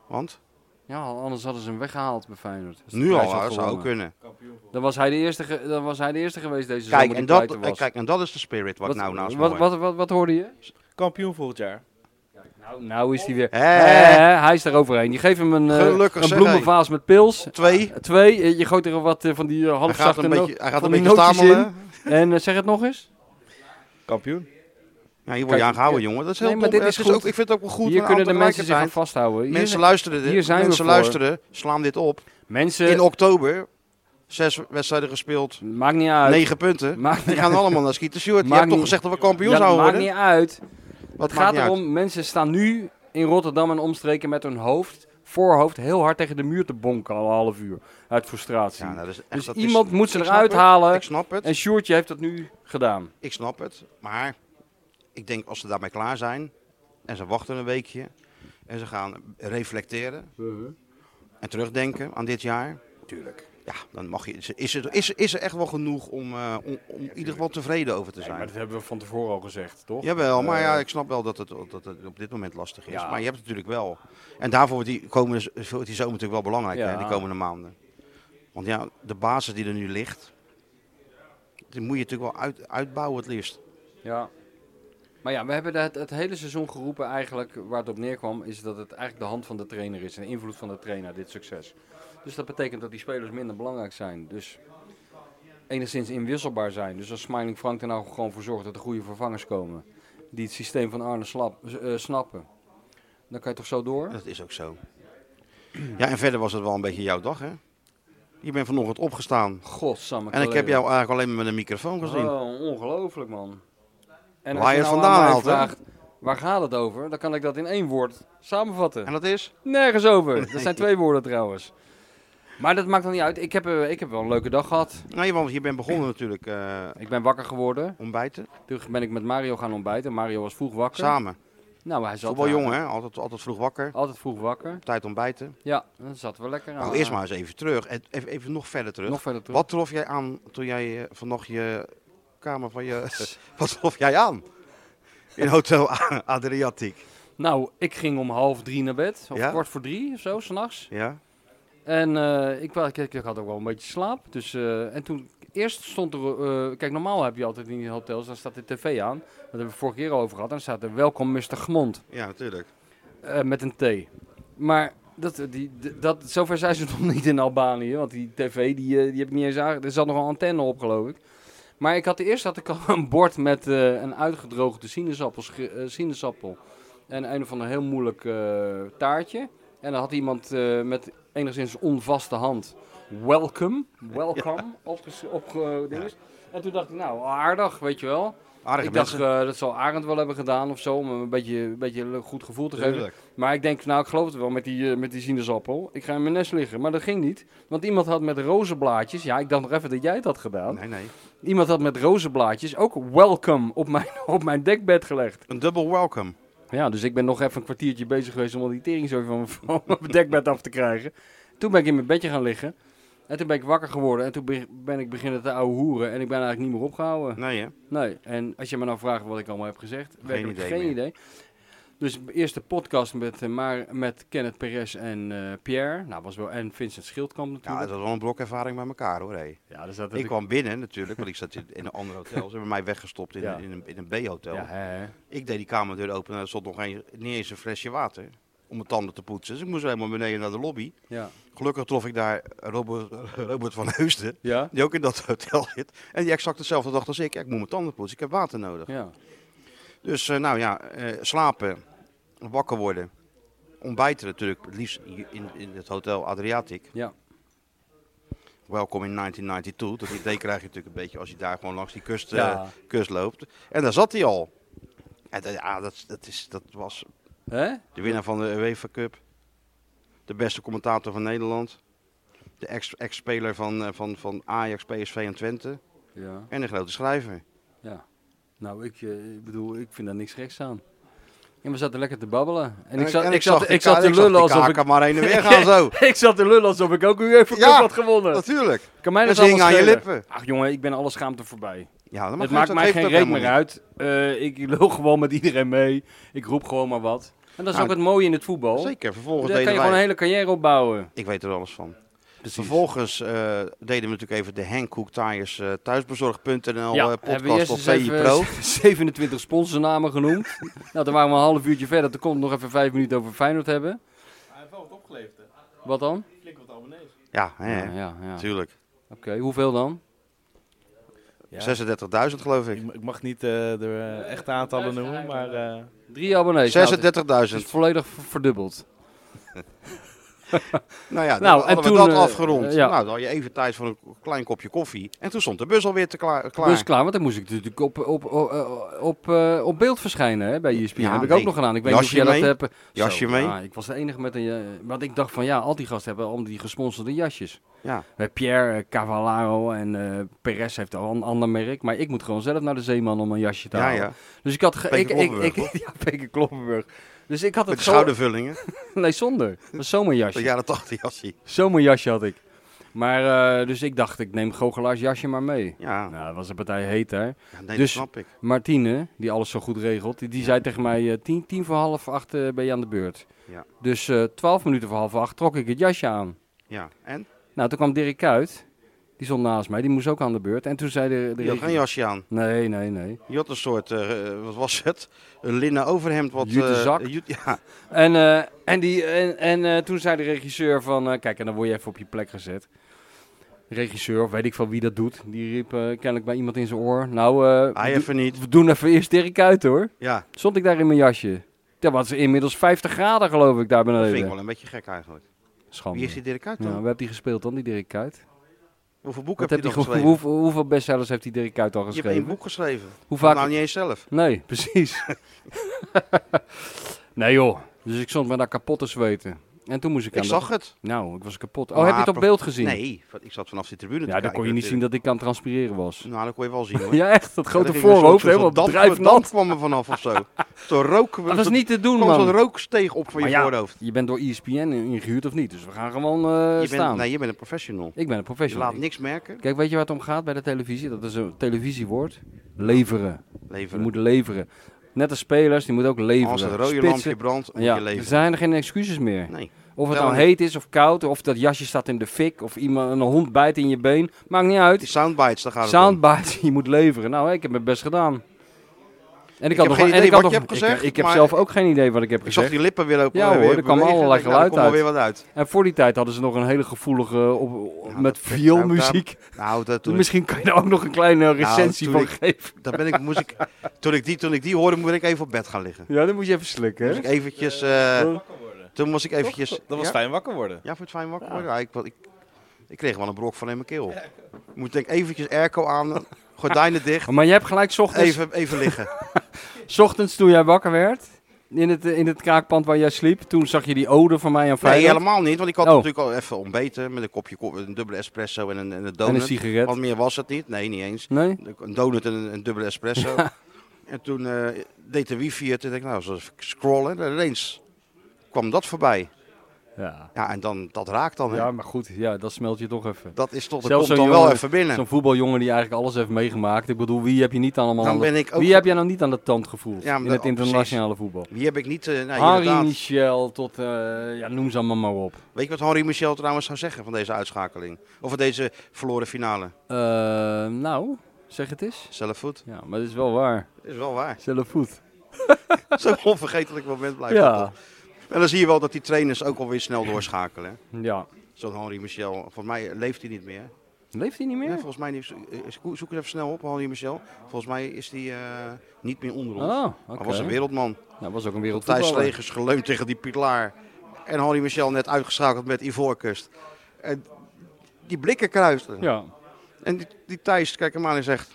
[SPEAKER 1] Want
[SPEAKER 2] Ja, anders hadden ze hem weggehaald bij Feyenoord. Als de
[SPEAKER 1] nu
[SPEAKER 2] prijs
[SPEAKER 1] al,
[SPEAKER 2] had
[SPEAKER 1] hè, zou ook
[SPEAKER 2] gewonnen. Dus
[SPEAKER 1] kunnen.
[SPEAKER 2] Dan was hij de eerste, ge- dan was hij de eerste geweest deze
[SPEAKER 1] Kijk
[SPEAKER 2] zomer
[SPEAKER 1] en,
[SPEAKER 2] die
[SPEAKER 1] dat,
[SPEAKER 2] pleiten was.
[SPEAKER 1] eh, kijk, en dat is de spirit wat, nou naast me
[SPEAKER 2] wat,
[SPEAKER 1] hoort.
[SPEAKER 2] wat, wat, wat hoorde je?
[SPEAKER 3] Kampioen volgend jaar.
[SPEAKER 2] Nou, nou is hij weer.
[SPEAKER 1] Hé.
[SPEAKER 2] Hé, hij is er overheen. Je geeft hem een, eh,
[SPEAKER 1] Gelukkig,
[SPEAKER 2] een
[SPEAKER 1] zeg,
[SPEAKER 2] bloemenvaas met pils.
[SPEAKER 1] Twee.
[SPEAKER 2] Twee, eh, je gooit er wat eh, van die eh,
[SPEAKER 1] Hij gaat
[SPEAKER 2] halfzachte
[SPEAKER 1] een
[SPEAKER 2] no-
[SPEAKER 1] beetje, hij gaat
[SPEAKER 2] van
[SPEAKER 1] een
[SPEAKER 2] die
[SPEAKER 1] beetje
[SPEAKER 2] nootjes
[SPEAKER 1] stamelen.
[SPEAKER 2] in. En eh, zeg het nog eens.
[SPEAKER 3] Kampioen.
[SPEAKER 1] Ja, hier word
[SPEAKER 2] Kijk,
[SPEAKER 1] je aangehouden,
[SPEAKER 2] ja.
[SPEAKER 1] jongen. Dat is heel
[SPEAKER 2] Nee, maar
[SPEAKER 1] dom.
[SPEAKER 2] dit
[SPEAKER 1] Het
[SPEAKER 2] is
[SPEAKER 1] ook,
[SPEAKER 2] goed.
[SPEAKER 1] ik vind het ook wel goed.
[SPEAKER 2] Hier
[SPEAKER 1] maar
[SPEAKER 2] kunnen de mensen zich aan
[SPEAKER 1] tegelijkertijd-
[SPEAKER 2] vasthouden. Hier
[SPEAKER 1] Mensen
[SPEAKER 2] zijn-
[SPEAKER 1] luisteren dit.
[SPEAKER 2] hier zijn we
[SPEAKER 1] mensen
[SPEAKER 2] voor.
[SPEAKER 1] luisteren. Slaan dit op.
[SPEAKER 2] mensen
[SPEAKER 1] In oktober. Zes wedstrijden gespeeld.
[SPEAKER 2] maakt niet uit.
[SPEAKER 1] Negen punten.
[SPEAKER 2] Maakt
[SPEAKER 1] Die
[SPEAKER 2] niet
[SPEAKER 1] gaan allemaal naar Schieten Sjoerd. Je
[SPEAKER 2] Maakt
[SPEAKER 1] hebt toch
[SPEAKER 2] niet-
[SPEAKER 1] gezegd dat we kampioen
[SPEAKER 2] Dat
[SPEAKER 1] zouden
[SPEAKER 2] maakt
[SPEAKER 1] worden?
[SPEAKER 2] niet uit.
[SPEAKER 1] Wat
[SPEAKER 2] Het gaat erom, mensen staan nu in Rotterdam en omstreken met hun hoofd, voorhoofd, heel hard tegen de muur te bonken al een half uur. Uit frustratie.
[SPEAKER 1] Ja, nou, dat is echt,
[SPEAKER 2] dus
[SPEAKER 1] dat is-
[SPEAKER 2] iemand moet ze
[SPEAKER 1] ik
[SPEAKER 2] eruit
[SPEAKER 1] snap het.
[SPEAKER 2] halen.
[SPEAKER 1] Ik snap het.
[SPEAKER 2] En Sjoerdje heeft dat nu gedaan.
[SPEAKER 1] Ik snap het, maar ik denk als ze daarmee klaar zijn en ze wachten een weekje en ze gaan reflecteren
[SPEAKER 2] Mhm.
[SPEAKER 1] en terugdenken aan dit jaar. Tuurlijk. Ja, dan mag je. is- Is er, is, er- is er echt wel genoeg om, eh, om, om in ieder geval tevreden over te zijn?
[SPEAKER 2] hebben we van tevoren al gezegd, toch? Eh,
[SPEAKER 1] Jawel, maar ja, ik snap wel dat het, dat het op dit moment lastig is.
[SPEAKER 2] Ja.
[SPEAKER 1] Maar je hebt het natuurlijk wel. En daarvoor wordt die, komende, z- wordt die zomer natuurlijk wel belangrijk, hè,
[SPEAKER 2] Ja.
[SPEAKER 1] die komende maanden. Want ja, de basis die er nu ligt, die moet je natuurlijk wel uit, uitbouwen het liefst.
[SPEAKER 2] Ja. Maar ja, we hebben het, het hele seizoen geroepen eigenlijk, waar het op neerkwam, is dat het eigenlijk de hand van de trainer is en de invloed van de trainer, dit succes. Dus dat betekent dat die spelers minder belangrijk zijn, dus enigszins inwisselbaar zijn. Dus als Smiling Frank er nou gewoon voor zorgt dat er goede vervangers komen, die het systeem van Arne slap, eh, snappen, dan kan je toch zo door?
[SPEAKER 1] Dat is ook zo. Ja, en verder was het wel een beetje jouw dag, hè? Je bent vanochtend opgestaan.
[SPEAKER 2] Godsamme
[SPEAKER 1] En ik heb
[SPEAKER 2] kleren.
[SPEAKER 1] jou eigenlijk alleen maar met een microfoon gezien.
[SPEAKER 2] Oh, ongelooflijk, man. En
[SPEAKER 1] Waar je het
[SPEAKER 2] nou aan
[SPEAKER 1] vandaan
[SPEAKER 2] mij
[SPEAKER 1] haalt, hè?
[SPEAKER 2] vraagt, waar gaat het over? Dan kan ik dat in één woord samenvatten.
[SPEAKER 1] En dat is?
[SPEAKER 2] Nergens over. Dat zijn twee woorden trouwens. Maar dat maakt dan niet uit. Ik heb, eh, ik heb wel een leuke dag gehad.
[SPEAKER 1] Nou, je, want je bent begonnen natuurlijk eh,
[SPEAKER 2] Ik ben wakker geworden.
[SPEAKER 1] ontbijten.
[SPEAKER 2] Toen ben ik met Mario gaan ontbijten. Mario was vroeg wakker.
[SPEAKER 1] Samen.
[SPEAKER 2] Nou, hij zat
[SPEAKER 1] Toch wel
[SPEAKER 2] daar.
[SPEAKER 1] jong, hè? Altijd, altijd vroeg wakker.
[SPEAKER 2] Altijd vroeg wakker.
[SPEAKER 1] Op tijd ontbijten.
[SPEAKER 2] Ja, dan zaten we lekker aan.
[SPEAKER 1] Nou, eerst maar eens even terug. En Even, even nog verder terug.
[SPEAKER 2] Nog verder terug.
[SPEAKER 1] Wat trof jij aan toen jij eh, vanochtend je kamer van je... Wat trof jij aan? In Hotel A- Adriatic.
[SPEAKER 2] Nou, ik ging om half drie naar bed. Of
[SPEAKER 1] Ja?
[SPEAKER 2] kwart voor drie of zo, s'nachts.
[SPEAKER 1] Ja?
[SPEAKER 2] En eh, ik, wa- ik, ik had ook wel een beetje slaap. Dus, eh, en toen, eerst stond er... eh, kijk, normaal heb je altijd in die hotels, dan staat de tv aan. Dat hebben we vorige keer al over gehad. En dan staat er welkom Mr. Gmond
[SPEAKER 1] Ja, natuurlijk.
[SPEAKER 2] eh, met een T. Maar dat, eh, die, d- dat, zover zijn ze nog niet in Albanië. Want die tv, die, eh, die heb ik niet eens aange... Er zat nog een antenne op, geloof ik. Maar ik had eerst had ik al een bord met eh, een uitgedroogde sinaasappel, eh, sinaasappel. En een of ander heel moeilijk eh, taartje. En dan had iemand eh, met enigszins onvaste hand... Welcome, welcome, opges- opge- dinges. En toen dacht ik, nou, aardig, weet je wel.
[SPEAKER 1] Aardige
[SPEAKER 2] ik dacht,
[SPEAKER 1] mensen.
[SPEAKER 2] eh, dat zal Arend wel hebben gedaan of zo, om hem een beetje, een beetje een goed gevoel te geven.
[SPEAKER 1] Tuurlijk.
[SPEAKER 2] Maar ik denk, nou, ik geloof het wel met die, eh, met die sinaasappel. Ik ga in mijn nest liggen. Maar dat ging niet. Want iemand had met rozenblaadjes. Ja, ik dacht nog even dat jij het had gedaan.
[SPEAKER 1] Nee, nee.
[SPEAKER 2] Iemand had met rozenblaadjes ook welcome op mijn, op mijn dekbed gelegd.
[SPEAKER 1] Een dubbel welcome.
[SPEAKER 2] Ja, dus ik ben nog even een kwartiertje bezig geweest om al die tering zo van mijn- van mijn dekbed af te krijgen. Toen ben ik in mijn bedje gaan liggen. En toen ben ik wakker geworden. En toen be- ben ik beginnen te ouwe hoeren. En ik ben eigenlijk niet meer opgehouden.
[SPEAKER 1] Nee, hè?
[SPEAKER 2] Nee, en als je me nou vraagt wat ik allemaal heb gezegd, werkelijk
[SPEAKER 1] idee
[SPEAKER 2] geen
[SPEAKER 1] meer.
[SPEAKER 2] idee. Dus eerst de podcast met, eh, maar, met Kenneth Perez en eh, Pierre. Nou, was wel, en Vincent Schildkamp
[SPEAKER 1] Ja, dat
[SPEAKER 2] natuurlijk.
[SPEAKER 1] was wel een blokervaring bij elkaar, hoor. hé.
[SPEAKER 2] Ja, dus dat
[SPEAKER 1] Ik kwam binnen natuurlijk, want ik zat in in een ander hotel. Ze hebben mij weggestopt in,
[SPEAKER 2] Ja.
[SPEAKER 1] in een, in een B-hotel.
[SPEAKER 2] Ja, hè, hè.
[SPEAKER 1] Ik deed die kamerdeur open en er stond nog geen, niet eens een flesje water om mijn tanden te poetsen. Dus ik moest helemaal beneden naar de lobby.
[SPEAKER 2] ja.
[SPEAKER 1] Gelukkig trof ik daar Robert, Robert van Heusden,
[SPEAKER 2] Ja?
[SPEAKER 1] die ook in dat hotel zit. En die exact dezelfde dag als ik. Ja, ik moet mijn tanden poetsen, ik heb water nodig.
[SPEAKER 2] Ja.
[SPEAKER 1] Dus eh, nou ja, eh, slapen, wakker worden, ontbijten natuurlijk, het liefst in, in het hotel Adriatic.
[SPEAKER 2] Ja.
[SPEAKER 1] Welkom in 1992. Dat idee krijg je natuurlijk een beetje als je daar gewoon langs die kust, eh,
[SPEAKER 2] Ja.
[SPEAKER 1] kust loopt. En daar zat hij al. En dat, ja, dat, dat, is, dat was
[SPEAKER 2] Hè?
[SPEAKER 1] de winnaar van de UEFA Cup. De beste commentator van Nederland. De ex- ex-speler van, eh, van, van Ajax, PSV en Twente.
[SPEAKER 2] Ja.
[SPEAKER 1] En een grote schrijver.
[SPEAKER 2] Ja. Nou, ik, eh, ik bedoel, ik vind daar niks geks aan. En we zaten lekker te babbelen. En ik zat, ik zat,
[SPEAKER 1] die
[SPEAKER 2] ik zat
[SPEAKER 1] ka-
[SPEAKER 2] te lullen
[SPEAKER 1] Ik zag
[SPEAKER 2] alsof
[SPEAKER 1] die
[SPEAKER 2] ik...
[SPEAKER 1] kaken maar heen en weer gaan zo.
[SPEAKER 2] Ik zat te lullen alsof ik ook u even
[SPEAKER 1] Ja.
[SPEAKER 2] had gewonnen.
[SPEAKER 1] Natuurlijk.
[SPEAKER 2] kan mij
[SPEAKER 1] Dat
[SPEAKER 2] dat
[SPEAKER 1] hing
[SPEAKER 2] allemaal
[SPEAKER 1] aan je
[SPEAKER 2] schelen?
[SPEAKER 1] lippen.
[SPEAKER 2] Ach jongen, ik ben alle schaamte voorbij.
[SPEAKER 1] Ja, dat mag
[SPEAKER 2] het
[SPEAKER 1] niet,
[SPEAKER 2] maakt
[SPEAKER 1] dat
[SPEAKER 2] mij
[SPEAKER 1] geeft
[SPEAKER 2] geen
[SPEAKER 1] ook
[SPEAKER 2] reet
[SPEAKER 1] helemaal
[SPEAKER 2] meer uit. Eh, ik loop gewoon met iedereen mee. Ik roep gewoon maar wat. En dat is
[SPEAKER 1] Nou,
[SPEAKER 2] ook het mooie in het
[SPEAKER 1] niet.
[SPEAKER 2] voetbal.
[SPEAKER 1] Zeker, vervolgens
[SPEAKER 2] Daar kan
[SPEAKER 1] deden
[SPEAKER 2] je gewoon een
[SPEAKER 1] wij...
[SPEAKER 2] hele carrière opbouwen.
[SPEAKER 1] Ik weet er alles van.
[SPEAKER 2] Precies.
[SPEAKER 1] Vervolgens eh, deden we natuurlijk even de Henk Hoek Tires eh, thuisbezorg.nl eh,
[SPEAKER 2] hebben we
[SPEAKER 1] podcast
[SPEAKER 2] eerst
[SPEAKER 1] op
[SPEAKER 2] eens
[SPEAKER 1] VI
[SPEAKER 2] even
[SPEAKER 1] Pro.
[SPEAKER 2] 27 sponsornamen genoemd. nou, toen waren we een half uurtje verder. Toen kon ik nog even vijf minuten over Feyenoord hebben.
[SPEAKER 3] Hij heeft wel wat opgeleverd, hè?
[SPEAKER 2] Wat dan?
[SPEAKER 3] Flink wat abonnees.
[SPEAKER 1] Ja, hè,
[SPEAKER 2] Ja, ja, ja. Oké,
[SPEAKER 1] natuurlijk.
[SPEAKER 2] hoeveel dan?
[SPEAKER 1] 36.000 geloof ik.
[SPEAKER 3] Ik, ik mag niet eh, de eh, echte aantallen noemen, maar... eh,
[SPEAKER 2] Drie abonnees. Nou, het is- het
[SPEAKER 1] 36.000.
[SPEAKER 2] is volledig v- verdubbeld.
[SPEAKER 1] Nou ja,
[SPEAKER 2] Nou,
[SPEAKER 1] nou, hadden
[SPEAKER 2] en
[SPEAKER 1] we
[SPEAKER 2] toen,
[SPEAKER 1] dat
[SPEAKER 2] eh,
[SPEAKER 1] afgerond.
[SPEAKER 2] eh, ja.
[SPEAKER 1] Nou, dan had je even tijd voor een klein kopje koffie. En toen stond de bus alweer te klaar. klaar.
[SPEAKER 2] Dus klaar, want dan moest ik natuurlijk op, op, op, eh, op, eh, op beeld verschijnen hè, bij E ESPN.
[SPEAKER 1] Ja,
[SPEAKER 2] heb ik
[SPEAKER 1] nee.
[SPEAKER 2] ook nog gedaan. Ik weet
[SPEAKER 1] Jasje
[SPEAKER 2] niet of jij
[SPEAKER 1] mee?
[SPEAKER 2] dat hebt. eh,
[SPEAKER 1] Jasje mee?
[SPEAKER 2] ja, ik was de enige met een... eh, Want ik dacht van ja, al die gasten hebben al die gesponsorde jasjes.
[SPEAKER 1] Ja.
[SPEAKER 2] Eh, Pierre, eh, Cavallaro en eh Perez heeft al een ander merk. Maar ik moet gewoon zelf naar de Zeeman om een jasje te
[SPEAKER 1] Ja,
[SPEAKER 2] halen.
[SPEAKER 1] ja.
[SPEAKER 2] Dus ik had... ge-
[SPEAKER 1] Peter
[SPEAKER 2] ik, ik,
[SPEAKER 1] Kloppenburg,
[SPEAKER 2] ik, ja, Peter Kloppenburg. Dus ik had
[SPEAKER 1] Met
[SPEAKER 2] het
[SPEAKER 1] de
[SPEAKER 2] zo-
[SPEAKER 1] schoudervullingen.
[SPEAKER 2] Nee, zonder. Dat was zomerjasje.
[SPEAKER 1] De jaren 80 jasje.
[SPEAKER 2] Zomerjasje had ik. Maar eh, dus ik dacht, ik neem Gogelaars jasje maar mee.
[SPEAKER 1] Ja,
[SPEAKER 2] Nou, dat was een partij heet hè.
[SPEAKER 1] ja, nee, dat
[SPEAKER 2] dus-
[SPEAKER 1] snap ik.
[SPEAKER 2] Martine, die alles zo goed regelt, die, die zei tegen mij: eh, tien, tien voor half acht eh, ben je aan de beurt.
[SPEAKER 1] Ja.
[SPEAKER 2] Dus eh twaalf minuten voor half acht trok ik het jasje aan.
[SPEAKER 1] Ja, en?
[SPEAKER 2] Nou, toen kwam Dirk uit. Die stond naast mij. Die moest ook aan de beurt. En toen zei de, de
[SPEAKER 1] Je had
[SPEAKER 2] regi-
[SPEAKER 1] geen jasje aan.
[SPEAKER 2] Nee, nee, nee.
[SPEAKER 1] Je had een soort, eh, wat was het? Een linnen overhemd. Wat, eh,
[SPEAKER 2] Jutezak.
[SPEAKER 1] jut- ja,
[SPEAKER 2] En, eh, en, die, en, en eh, toen zei de regisseur van... eh, kijk, en dan word je even op je plek gezet. Regisseur, of weet ik van wie dat doet. Die riep eh, kennelijk bij iemand in zijn oor. Nou, eh,
[SPEAKER 1] hij
[SPEAKER 2] we
[SPEAKER 1] even niet.
[SPEAKER 2] do- we doen even eerst Dirk uit hoor.
[SPEAKER 1] Ja,
[SPEAKER 2] Stond ik daar in mijn jasje. Dat was inmiddels 50 graden geloof ik daar
[SPEAKER 1] dat vind ik
[SPEAKER 2] beneden.
[SPEAKER 1] wel een beetje gek eigenlijk.
[SPEAKER 2] Schande.
[SPEAKER 1] Wie is die Dirk uit
[SPEAKER 2] Ja,
[SPEAKER 1] dan?
[SPEAKER 2] wie heeft die gespeeld dan, die Dirk Kuyt?
[SPEAKER 1] Hoeveel boeken
[SPEAKER 2] Wat
[SPEAKER 1] heb
[SPEAKER 2] heb
[SPEAKER 1] je
[SPEAKER 2] die
[SPEAKER 1] dan
[SPEAKER 2] ge-
[SPEAKER 1] geschreven?
[SPEAKER 2] hoeveel, hoeveel bestsellers heeft die Dirk Kuyt al
[SPEAKER 1] Je hebt één
[SPEAKER 2] geschreven?
[SPEAKER 1] boek geschreven.
[SPEAKER 2] Hoe vaak?
[SPEAKER 1] Nou, niet eens zelf.
[SPEAKER 2] Nee, precies. nee joh. Dus ik stond me daar kapot te zweten. En toen moest ik,
[SPEAKER 1] Ik
[SPEAKER 2] aan
[SPEAKER 1] zag het.
[SPEAKER 2] de... Nou, ik was kapot. Oh,
[SPEAKER 1] Maar
[SPEAKER 2] heb je het op
[SPEAKER 1] pro-
[SPEAKER 2] beeld gezien?
[SPEAKER 1] Nee, want ik zat vanaf de tribune te
[SPEAKER 2] Ja, dan kon je
[SPEAKER 1] kijken
[SPEAKER 2] niet zien dat ik aan het transpireren was.
[SPEAKER 1] natuurlijk. Nou, dat kon je wel zien hoor.
[SPEAKER 2] Ja, echt. Dat
[SPEAKER 1] Ja,
[SPEAKER 2] grote
[SPEAKER 1] er dus ging een
[SPEAKER 2] voorhoofd,
[SPEAKER 1] soort-
[SPEAKER 2] helemaal
[SPEAKER 1] soort damp-
[SPEAKER 2] drijfnat.
[SPEAKER 1] damp kwam er vanaf of zo. Toen roken we.
[SPEAKER 2] Dat was
[SPEAKER 1] toen
[SPEAKER 2] niet te doen,
[SPEAKER 1] kwam zo'n
[SPEAKER 2] man.
[SPEAKER 1] rooksteeg op van
[SPEAKER 2] Maar
[SPEAKER 1] je
[SPEAKER 2] ja,
[SPEAKER 1] voorhoofd.
[SPEAKER 2] Je bent door E ESPN in- ingehuurd of niet, dus we gaan gewoon eh,
[SPEAKER 1] Je bent,
[SPEAKER 2] staan.
[SPEAKER 1] nee, je bent een professional.
[SPEAKER 2] Ik ben een
[SPEAKER 1] Je
[SPEAKER 2] professional.
[SPEAKER 1] laat niks merken.
[SPEAKER 2] Kijk, weet je waar het om gaat bij de televisie? Dat is een televisiewoord. Leveren. Je
[SPEAKER 1] Leveren.
[SPEAKER 2] moet leveren. Net als spelers, die moet ook leveren.
[SPEAKER 1] Als het rode
[SPEAKER 2] Spitsen-
[SPEAKER 1] lampje brandt, moet
[SPEAKER 2] ja, dus-
[SPEAKER 1] je
[SPEAKER 2] er
[SPEAKER 1] leveren.
[SPEAKER 2] zijn er geen excuses meer.
[SPEAKER 1] Nee.
[SPEAKER 2] Of het
[SPEAKER 1] Daarom-
[SPEAKER 2] nou heet is of koud, of dat jasje staat in de fik, of iemand een hond bijt in je been. Maakt niet uit.
[SPEAKER 1] Die soundbites, daar gaat het om.
[SPEAKER 2] Soundbite, je moet leveren. Nou, ik heb mijn best gedaan. En ik, had
[SPEAKER 1] heb
[SPEAKER 2] nog
[SPEAKER 1] geen
[SPEAKER 2] en
[SPEAKER 1] idee
[SPEAKER 2] ik had
[SPEAKER 1] wat je
[SPEAKER 2] nog-
[SPEAKER 1] hebt
[SPEAKER 2] ik-
[SPEAKER 1] gezegd,
[SPEAKER 2] Ik, heb
[SPEAKER 1] maar-
[SPEAKER 2] zelf ook geen idee wat ik heb
[SPEAKER 1] Ik zag
[SPEAKER 2] gezegd.
[SPEAKER 1] die lippen weer open.
[SPEAKER 2] Ja,
[SPEAKER 1] eh,
[SPEAKER 2] hoor,
[SPEAKER 1] weer
[SPEAKER 2] er kwam
[SPEAKER 1] bewegen.
[SPEAKER 2] allerlei
[SPEAKER 1] Ik denk, nou, er
[SPEAKER 2] geluid
[SPEAKER 1] komt wel weer wat uit.
[SPEAKER 2] En voor die tijd hadden ze nog een hele gevoelige op,
[SPEAKER 1] Ja,
[SPEAKER 2] met
[SPEAKER 1] dat-
[SPEAKER 2] vioolmuziek.
[SPEAKER 1] Nou, dat, toen, ik, Nou,
[SPEAKER 2] Misschien kan je daar ook nog een kleine recensie
[SPEAKER 1] toen
[SPEAKER 2] van
[SPEAKER 1] ik-
[SPEAKER 2] geven.
[SPEAKER 1] dat ben ik, moest ik, toen, ik die, toen ik die hoorde, moest ik even op bed gaan liggen.
[SPEAKER 2] Ja, dan moet je even slikken.
[SPEAKER 1] Moest
[SPEAKER 2] Hè?
[SPEAKER 1] ik eventjes, eh,
[SPEAKER 2] Ja.
[SPEAKER 1] toen moest ik eventjes...
[SPEAKER 3] Dat was
[SPEAKER 1] ja?
[SPEAKER 3] fijn wakker worden.
[SPEAKER 1] Ja, voor het fijn wakker worden. Ja, ik, wa- ik, ik kreeg wel een brok van in mijn keel. Ik Moet denk ik eventjes airco aan, gordijnen dicht,
[SPEAKER 2] Oh, Maar je hebt gelijk, 's ochtends,
[SPEAKER 1] even, even liggen.
[SPEAKER 2] 's ochtends toen jij wakker werd, in het, in het kraakpand waar jij sliep, toen zag je die ode van mij aan
[SPEAKER 1] Nee,
[SPEAKER 2] Feyenoord
[SPEAKER 1] helemaal niet, want ik had
[SPEAKER 2] Oh.
[SPEAKER 1] natuurlijk al even ontbeten met een kopje, ko- een dubbele espresso en een, en een donut.
[SPEAKER 2] en een sigaret.
[SPEAKER 1] Wat meer was het niet, nee, niet eens.
[SPEAKER 2] Nee?
[SPEAKER 1] Een donut en een, een dubbele espresso. En toen eh, deed de wifi het en ik nou, zo even scrollen en ineens kwam dat voorbij.
[SPEAKER 2] Ja.
[SPEAKER 1] Ja, en dan, dat raakt dan. hè.
[SPEAKER 2] ja, maar goed, ja, dat smelt je toch even.
[SPEAKER 1] Dat is toch, dat
[SPEAKER 2] Zelfs
[SPEAKER 1] komt
[SPEAKER 2] zo'n
[SPEAKER 1] dan wel
[SPEAKER 2] jongen-
[SPEAKER 1] even binnen.
[SPEAKER 2] Zo'n voetbaljongen die eigenlijk alles heeft meegemaakt. Ik bedoel, wie heb je niet allemaal
[SPEAKER 1] Dan
[SPEAKER 2] aan de-
[SPEAKER 1] ben ik ook...
[SPEAKER 2] Wie heb jij nou niet aan de tand gevoeld
[SPEAKER 1] Ja, maar
[SPEAKER 2] in
[SPEAKER 1] dat-
[SPEAKER 2] het internationale voetbal?
[SPEAKER 1] Wie heb ik niet... eh, nee,
[SPEAKER 2] Harry
[SPEAKER 1] inderdaad.
[SPEAKER 2] Michel tot, eh, ja, noem ze allemaal maar op.
[SPEAKER 1] Weet je wat Henri Michel trouwens zou zeggen van deze uitschakeling? Of van deze verloren finale?
[SPEAKER 2] Eh, nou, zeg het eens.
[SPEAKER 1] Zelf goed.
[SPEAKER 2] Ja, maar dat is wel waar.
[SPEAKER 1] Is wel waar.
[SPEAKER 2] Zelf voet.
[SPEAKER 1] Zo'n onvergetelijk moment blijft dat
[SPEAKER 2] Ja.
[SPEAKER 1] toch. En dan zie je wel dat die trainers ook alweer snel doorschakelen. hè.
[SPEAKER 2] ja.
[SPEAKER 1] Zo'n Henri Michel. Volgens mij leeft hij niet meer.
[SPEAKER 2] Leeft hij niet
[SPEAKER 1] Ja,
[SPEAKER 2] meer?
[SPEAKER 1] volgens mij, niet- eh, zoek het even snel op, Henri Michel. Volgens mij is hij niet meer onder ons.
[SPEAKER 2] oh, oké.
[SPEAKER 1] Hij was een wereldman.
[SPEAKER 2] Nou, was ook een
[SPEAKER 1] Thijs
[SPEAKER 2] wereldvoetballer.
[SPEAKER 1] Legers geleund tegen die pilaar. En Henri Michel net uitgeschakeld met Ivoorkust. En die blikken kruisten.
[SPEAKER 2] Ja.
[SPEAKER 1] En die, die Thijs kijkt hem aan en zegt...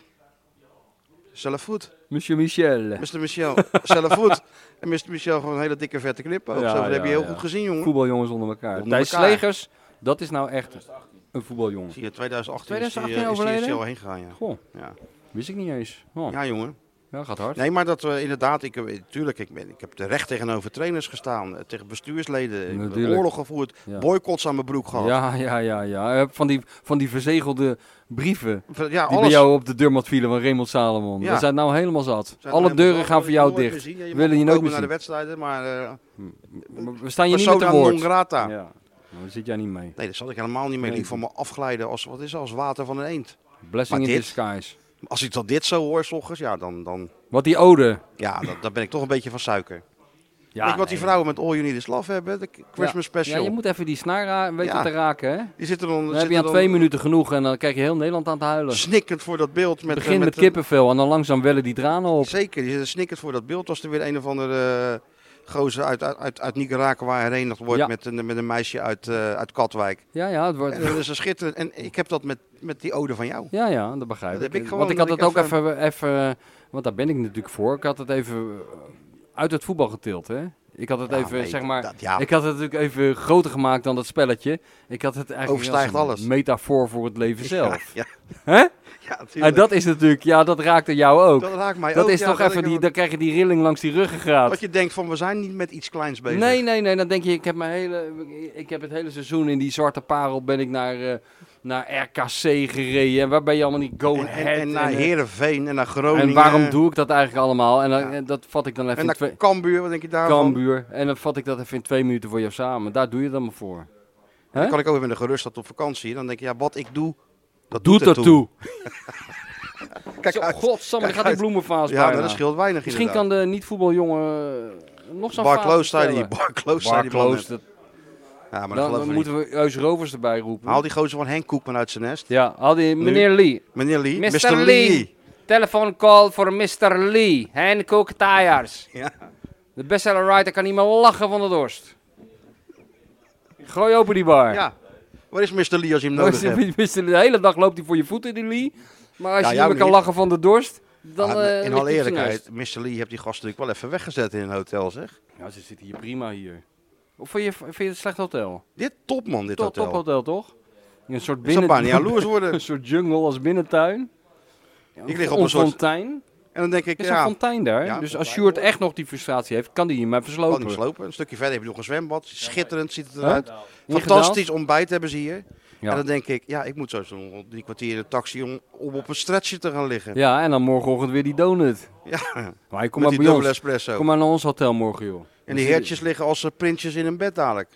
[SPEAKER 1] Zelf goed.
[SPEAKER 2] Monsieur Michel.
[SPEAKER 1] Mr. Michel, zelf goed. En Mr. Michel gewoon een hele dikke vette knip. Ook.
[SPEAKER 2] Ja,
[SPEAKER 1] Zo, dat
[SPEAKER 2] ja,
[SPEAKER 1] heb je heel
[SPEAKER 2] ja.
[SPEAKER 1] goed gezien, jongen.
[SPEAKER 2] Voetbaljongens onder elkaar.
[SPEAKER 1] Onder
[SPEAKER 2] Thijs
[SPEAKER 1] elkaar.
[SPEAKER 2] Legers, dat is nou echt een voetbaljongen.
[SPEAKER 1] Zie je, 2018,
[SPEAKER 2] 2018
[SPEAKER 1] is die, eh, is die
[SPEAKER 2] overleden?
[SPEAKER 1] Michel heen gegaan, ja.
[SPEAKER 2] Goh,
[SPEAKER 1] ja.
[SPEAKER 2] wist ik niet eens. Oh, ja.
[SPEAKER 1] Ja, jongen.
[SPEAKER 2] gaat hard.
[SPEAKER 1] Nee, maar dat we inderdaad... Ik, eh, tuurlijk, ik, ben, ik heb terecht tegenover trainers gestaan. eh, Tegen bestuursleden. Ik heb
[SPEAKER 2] Natuurlijk.
[SPEAKER 1] oorlog gevoerd.
[SPEAKER 2] Ja.
[SPEAKER 1] Boycotts aan mijn broek gehad. Ja,
[SPEAKER 2] Ja, ja, ja, ja. Eh, Van die, van die verzegelde brieven die
[SPEAKER 1] eh, ja
[SPEAKER 2] bij
[SPEAKER 1] alles.
[SPEAKER 2] jou op de deurmat vielen van Raymond Salomon.
[SPEAKER 1] Ja.
[SPEAKER 2] We zijn nou helemaal zat.
[SPEAKER 1] Zijn er
[SPEAKER 2] Alle
[SPEAKER 1] helemaal
[SPEAKER 2] deuren
[SPEAKER 1] zo-
[SPEAKER 2] gaan voor jou
[SPEAKER 1] nooit meer
[SPEAKER 2] dicht.
[SPEAKER 1] zien. Ja,
[SPEAKER 2] Willen
[SPEAKER 1] mag
[SPEAKER 2] je nooit
[SPEAKER 1] komen
[SPEAKER 2] meer
[SPEAKER 1] naar de
[SPEAKER 2] zien.
[SPEAKER 1] wedstrijden, maar eh
[SPEAKER 2] We staan je niet met
[SPEAKER 1] persona non
[SPEAKER 2] te woord.
[SPEAKER 1] grata.
[SPEAKER 2] Ja. Nou, daar zit jij niet mee.
[SPEAKER 1] Nee, dat zat ik helemaal niet mee.
[SPEAKER 2] Nee.
[SPEAKER 1] Die van me afglijden als, wat is dat, als water van een eend.
[SPEAKER 2] Blessing
[SPEAKER 1] Maar
[SPEAKER 2] in
[SPEAKER 1] dit?
[SPEAKER 2] disguise.
[SPEAKER 1] Als ik dan dit zo hoor, s ochtends, ja, dan, dan,
[SPEAKER 2] Wat die ode.
[SPEAKER 1] ja, dan, dan ben ik toch een beetje van suiker.
[SPEAKER 2] Ja,
[SPEAKER 1] Weet je wat die vrouwen met All You Need Is Love hebben? De Christmas
[SPEAKER 2] Ja,
[SPEAKER 1] Special.
[SPEAKER 2] je moet even die snaar ra- weten
[SPEAKER 1] Ja.
[SPEAKER 2] te raken, hè?
[SPEAKER 1] Die zitten dan,
[SPEAKER 2] Dan heb
[SPEAKER 1] zitten
[SPEAKER 2] je aan
[SPEAKER 1] dan
[SPEAKER 2] twee minuten genoeg en dan krijg je heel Nederland aan het huilen.
[SPEAKER 1] snikkend voor dat beeld. Met,
[SPEAKER 2] Begin met
[SPEAKER 1] een-
[SPEAKER 2] kippenvel en dan langzaam wellen die tranen op.
[SPEAKER 1] Zeker, die zitten snikkend voor dat beeld. Als er weer een of andere eh, gozer uit, uit, uit, uit Nicaragua herenigd wordt
[SPEAKER 2] Ja.
[SPEAKER 1] met, een, met een meisje uit, eh, uit Katwijk.
[SPEAKER 2] Ja, ja, het wordt...
[SPEAKER 1] En dat is een schitterend. En ik heb dat met, met die ode van jou.
[SPEAKER 2] Ja, ja, dat begrijp
[SPEAKER 1] Dat
[SPEAKER 2] ik.
[SPEAKER 1] heb ik gewoon,
[SPEAKER 2] want ik had
[SPEAKER 1] dat
[SPEAKER 2] het
[SPEAKER 1] ik
[SPEAKER 2] ook even, even... Want daar ben ik natuurlijk voor. Ik had het even eh, uit het voetbal getild, hè? Ik had het
[SPEAKER 1] Ja,
[SPEAKER 2] even,
[SPEAKER 1] nee,
[SPEAKER 2] zeg maar...
[SPEAKER 1] dat- ja,
[SPEAKER 2] Ik had het natuurlijk even groter gemaakt dan dat spelletje. Ik had het eigenlijk
[SPEAKER 1] Overstijgt
[SPEAKER 2] als een
[SPEAKER 1] alles.
[SPEAKER 2] metafoor voor het leven zelf.
[SPEAKER 1] Ja,
[SPEAKER 2] Hè?
[SPEAKER 1] ja,
[SPEAKER 2] En
[SPEAKER 1] tuurlijk.
[SPEAKER 2] dat is natuurlijk... Ja, dat raakte jou ook.
[SPEAKER 1] Dat raakt mij
[SPEAKER 2] Dat
[SPEAKER 1] ook.
[SPEAKER 2] is
[SPEAKER 1] ja,
[SPEAKER 2] toch
[SPEAKER 1] dat
[SPEAKER 2] even
[SPEAKER 1] ik-
[SPEAKER 2] die... Dan krijg je die rilling langs die ruggengraat.
[SPEAKER 1] Dat je denkt van we zijn niet met iets kleins bezig.
[SPEAKER 2] Nee, nee, nee. Dan denk je, ik heb, mijn hele, ik heb het hele seizoen in die zwarte parel ben ik naar, eh, naar RKC gereden. En waar ben je allemaal niet go
[SPEAKER 1] En, en,
[SPEAKER 2] ahead
[SPEAKER 1] en naar
[SPEAKER 2] eh,
[SPEAKER 1] Herenveen en naar Groningen.
[SPEAKER 2] en waarom doe ik dat eigenlijk allemaal? En, dan-
[SPEAKER 1] Ja.
[SPEAKER 2] en dat vat ik dan even
[SPEAKER 1] En
[SPEAKER 2] in
[SPEAKER 1] naar
[SPEAKER 2] twee...
[SPEAKER 1] Cambuur, wat denk je daarvan?
[SPEAKER 2] Kambuur. En dan vat ik dat even in twee minuten voor jou samen. Daar doe je dan maar voor.
[SPEAKER 1] Dan kan ik ook weer met een gerustheid op vakantie. Dan denk je, ja, wat ik doe, Dat
[SPEAKER 2] Doet dat toe.
[SPEAKER 1] Kijk,
[SPEAKER 2] Zo,
[SPEAKER 1] uit.
[SPEAKER 2] Godsamme, dan
[SPEAKER 1] Kijk
[SPEAKER 2] gaat die
[SPEAKER 1] uit.
[SPEAKER 2] bloemenvaas
[SPEAKER 1] ja,
[SPEAKER 2] bijna.
[SPEAKER 1] dat scheelt weinig
[SPEAKER 2] Misschien
[SPEAKER 1] inderdaad.
[SPEAKER 2] kan de niet-voetbaljongen eh, nog zo'n
[SPEAKER 1] Bar
[SPEAKER 2] vaas
[SPEAKER 1] Close zei die.
[SPEAKER 2] bestellen.
[SPEAKER 1] Bar Close zei
[SPEAKER 2] Bar
[SPEAKER 1] die.
[SPEAKER 2] Close,
[SPEAKER 1] man.
[SPEAKER 2] dat-
[SPEAKER 1] Ja, maar dat geloof ik
[SPEAKER 2] dan
[SPEAKER 1] niet.
[SPEAKER 2] moeten we Eus Rovers erbij roepen.
[SPEAKER 1] Haal die gozer van Henk Koekman uit zijn nest.
[SPEAKER 2] Ja, haal die meneer Lee.
[SPEAKER 1] Meneer Lee.
[SPEAKER 2] Mr. Lee. Telephone call voor Mr. Lee. Hankook Tires.
[SPEAKER 1] Ja.
[SPEAKER 2] De bestseller writer kan niet meer lachen van de dorst. Gooi open die bar.
[SPEAKER 1] ja. Waar is Mr. Lee als je hem
[SPEAKER 2] Nou,
[SPEAKER 1] nodig
[SPEAKER 2] is-
[SPEAKER 1] hebt?
[SPEAKER 2] is- De hele dag loopt hij voor je voeten, die Lee. Maar als
[SPEAKER 1] Ja,
[SPEAKER 2] je
[SPEAKER 1] jou
[SPEAKER 2] niet meer kan
[SPEAKER 1] niet.
[SPEAKER 2] lachen van de dorst, dan...
[SPEAKER 1] Ah,
[SPEAKER 2] eh, ligt
[SPEAKER 1] in
[SPEAKER 2] hij op
[SPEAKER 1] alle
[SPEAKER 2] zijn
[SPEAKER 1] eerlijkheid,
[SPEAKER 2] neus.
[SPEAKER 1] Mr. Lee heeft die gast natuurlijk wel even weggezet in een hotel, zeg.
[SPEAKER 2] Ja, ze zitten hier prima hier. Of vind je, vind je het een slecht hotel?
[SPEAKER 1] Dit topman, dit
[SPEAKER 2] Top
[SPEAKER 1] hotel.
[SPEAKER 2] Tophotel, toch? Een soort
[SPEAKER 1] Ik zou
[SPEAKER 2] binnen...
[SPEAKER 1] bijna jaloers worden.
[SPEAKER 2] Een soort jungle als binnentuin. Ja,
[SPEAKER 1] Ik lig op een soort-
[SPEAKER 2] fontein.
[SPEAKER 1] En dan denk ik,
[SPEAKER 2] Er is
[SPEAKER 1] ja,
[SPEAKER 2] een fontein daar.
[SPEAKER 1] Ja,
[SPEAKER 2] dus als
[SPEAKER 1] fontein,
[SPEAKER 2] Sjoerd echt nog die frustratie heeft, kan die hier maar
[SPEAKER 1] kan
[SPEAKER 2] verslopen.
[SPEAKER 1] hem slopen. Een stukje verder heb je nog een zwembad. Schitterend ziet het
[SPEAKER 2] Huh?
[SPEAKER 1] eruit. Fantastisch ontbijt hebben ze hier.
[SPEAKER 2] Ja.
[SPEAKER 1] En dan denk ik, ja, ik moet zo zo'n drie kwartier in de taxi om, om op een stretchje te gaan liggen.
[SPEAKER 2] Ja, en dan morgenochtend weer die donut.
[SPEAKER 1] Ja,
[SPEAKER 2] Maar hij
[SPEAKER 1] met
[SPEAKER 2] komt maar
[SPEAKER 1] die
[SPEAKER 2] bij
[SPEAKER 1] dubbele
[SPEAKER 2] ons.
[SPEAKER 1] espresso.
[SPEAKER 2] Kom maar naar ons hotel morgen, joh.
[SPEAKER 1] En die heertjes liggen als eh, prinsjes in een bed dadelijk.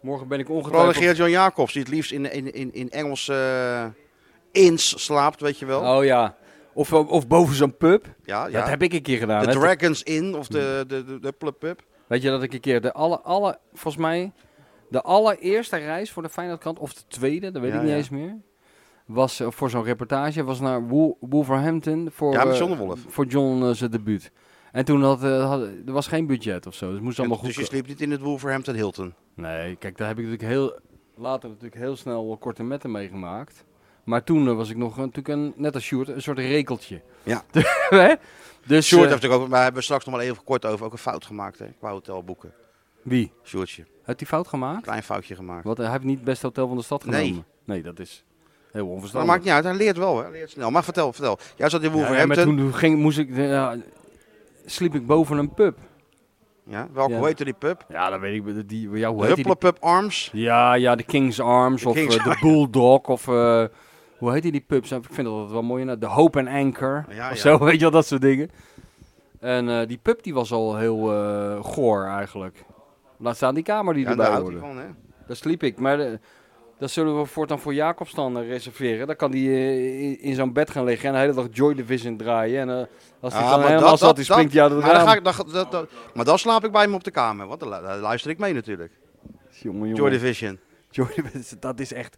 [SPEAKER 2] Morgen ben ik
[SPEAKER 1] Vooral een
[SPEAKER 2] ongetwijfeld...
[SPEAKER 1] Geert-Jan Jacobs, die het liefst in, in, in, in Engelse eh, inns slaapt, weet je wel.
[SPEAKER 2] Oh ja. Of, of boven zo'n pub.
[SPEAKER 1] ja,
[SPEAKER 2] Dat
[SPEAKER 1] ja.
[SPEAKER 2] heb ik nou een keer gedaan.
[SPEAKER 1] De
[SPEAKER 2] hè.
[SPEAKER 1] Dragons Inn of de, de, de, de Plub Pub.
[SPEAKER 2] Weet je dat ik een keer de alle, alle, volgens mij, de allereerste reis voor de Feyenoordkant, of de tweede, dat weet
[SPEAKER 1] Ja,
[SPEAKER 2] ik niet
[SPEAKER 1] ja.
[SPEAKER 2] eens meer, was eh, voor zo'n reportage, was naar Wool- Wolverhampton voor,
[SPEAKER 1] Ja, met
[SPEAKER 2] eh,
[SPEAKER 1] John de Wolf.
[SPEAKER 2] voor John eh, zijn debuut. En toen had, eh, had- er was geen budget of zo, dus het moest allemaal
[SPEAKER 1] En- dus
[SPEAKER 2] goed.
[SPEAKER 1] je sliep niet in het Wolverhampton Hilton.
[SPEAKER 2] Nee, kijk, daar heb ik natuurlijk heel, later natuurlijk heel snel wel korte metten meegemaakt. Maar toen eh, was ik nog eh, natuurlijk een, net als Sjoerd, een soort rekeltje.
[SPEAKER 1] Ja.
[SPEAKER 2] Hè? dus
[SPEAKER 1] Sjoerd
[SPEAKER 2] Sjoerd
[SPEAKER 1] heeft natuurlijk ook, maar hebben we straks nog maar even kort over, ook een fout gemaakt hè, qua hotelboeken.
[SPEAKER 2] wie?
[SPEAKER 1] Sjoerdje,
[SPEAKER 2] Had hij fout gemaakt?
[SPEAKER 1] klein foutje gemaakt.
[SPEAKER 2] Wat, hij heeft niet het beste hotel van de stad
[SPEAKER 1] Nee.
[SPEAKER 2] genomen. Nee, dat is heel onverstandig.
[SPEAKER 1] dat maakt niet uit, hij leert wel hè, hij leert snel. Maar vertel, vertel. Jij zat in Wolverhampton. Ja,
[SPEAKER 2] toen toen ging, moest ik, eh, ja, sliep ik boven een pub.
[SPEAKER 1] welke,
[SPEAKER 2] Ja.
[SPEAKER 1] hoe heette die pub?
[SPEAKER 2] Ja, dat weet ik. Die, ja, hoe heet die?
[SPEAKER 1] Hupplepub Pub Arms.
[SPEAKER 2] Ja, ja, de King's Arms
[SPEAKER 1] De
[SPEAKER 2] of
[SPEAKER 1] King's
[SPEAKER 2] eh, de Bulldog of... eh, hoe heet die, die pubs? Ik vind dat wel mooi. nou, De Hope and Anchor.
[SPEAKER 1] Ja,
[SPEAKER 2] of
[SPEAKER 1] ja.
[SPEAKER 2] zo, weet je wel, dat soort dingen. En eh, die pub die was al heel eh, goor eigenlijk. Laat staan die kamer die
[SPEAKER 1] Ja, daar
[SPEAKER 2] erbij
[SPEAKER 1] houdt hij
[SPEAKER 2] hoorde.
[SPEAKER 1] van hè.
[SPEAKER 2] Daar sliep ik. Maar eh, dat zullen we voortaan voor Jacobs dan eh, reserveren. Dan kan hij eh, in- in zo'n bed gaan liggen en de hele dag Joy Division draaien. En eh, als hij
[SPEAKER 1] Ah,
[SPEAKER 2] dan
[SPEAKER 1] maar
[SPEAKER 2] helemaal
[SPEAKER 1] dat-
[SPEAKER 2] zat,
[SPEAKER 1] dat-
[SPEAKER 2] die
[SPEAKER 1] dat-
[SPEAKER 2] springt hij uit het
[SPEAKER 1] maar dan,
[SPEAKER 2] raam.
[SPEAKER 1] ga ik, dan- dat- dat- maar dan slaap ik bij hem op de kamer, want dan lu- dan luister ik mee natuurlijk.
[SPEAKER 2] Jongen, jongen.
[SPEAKER 1] Joy Division.
[SPEAKER 2] Joy Division, dat is echt...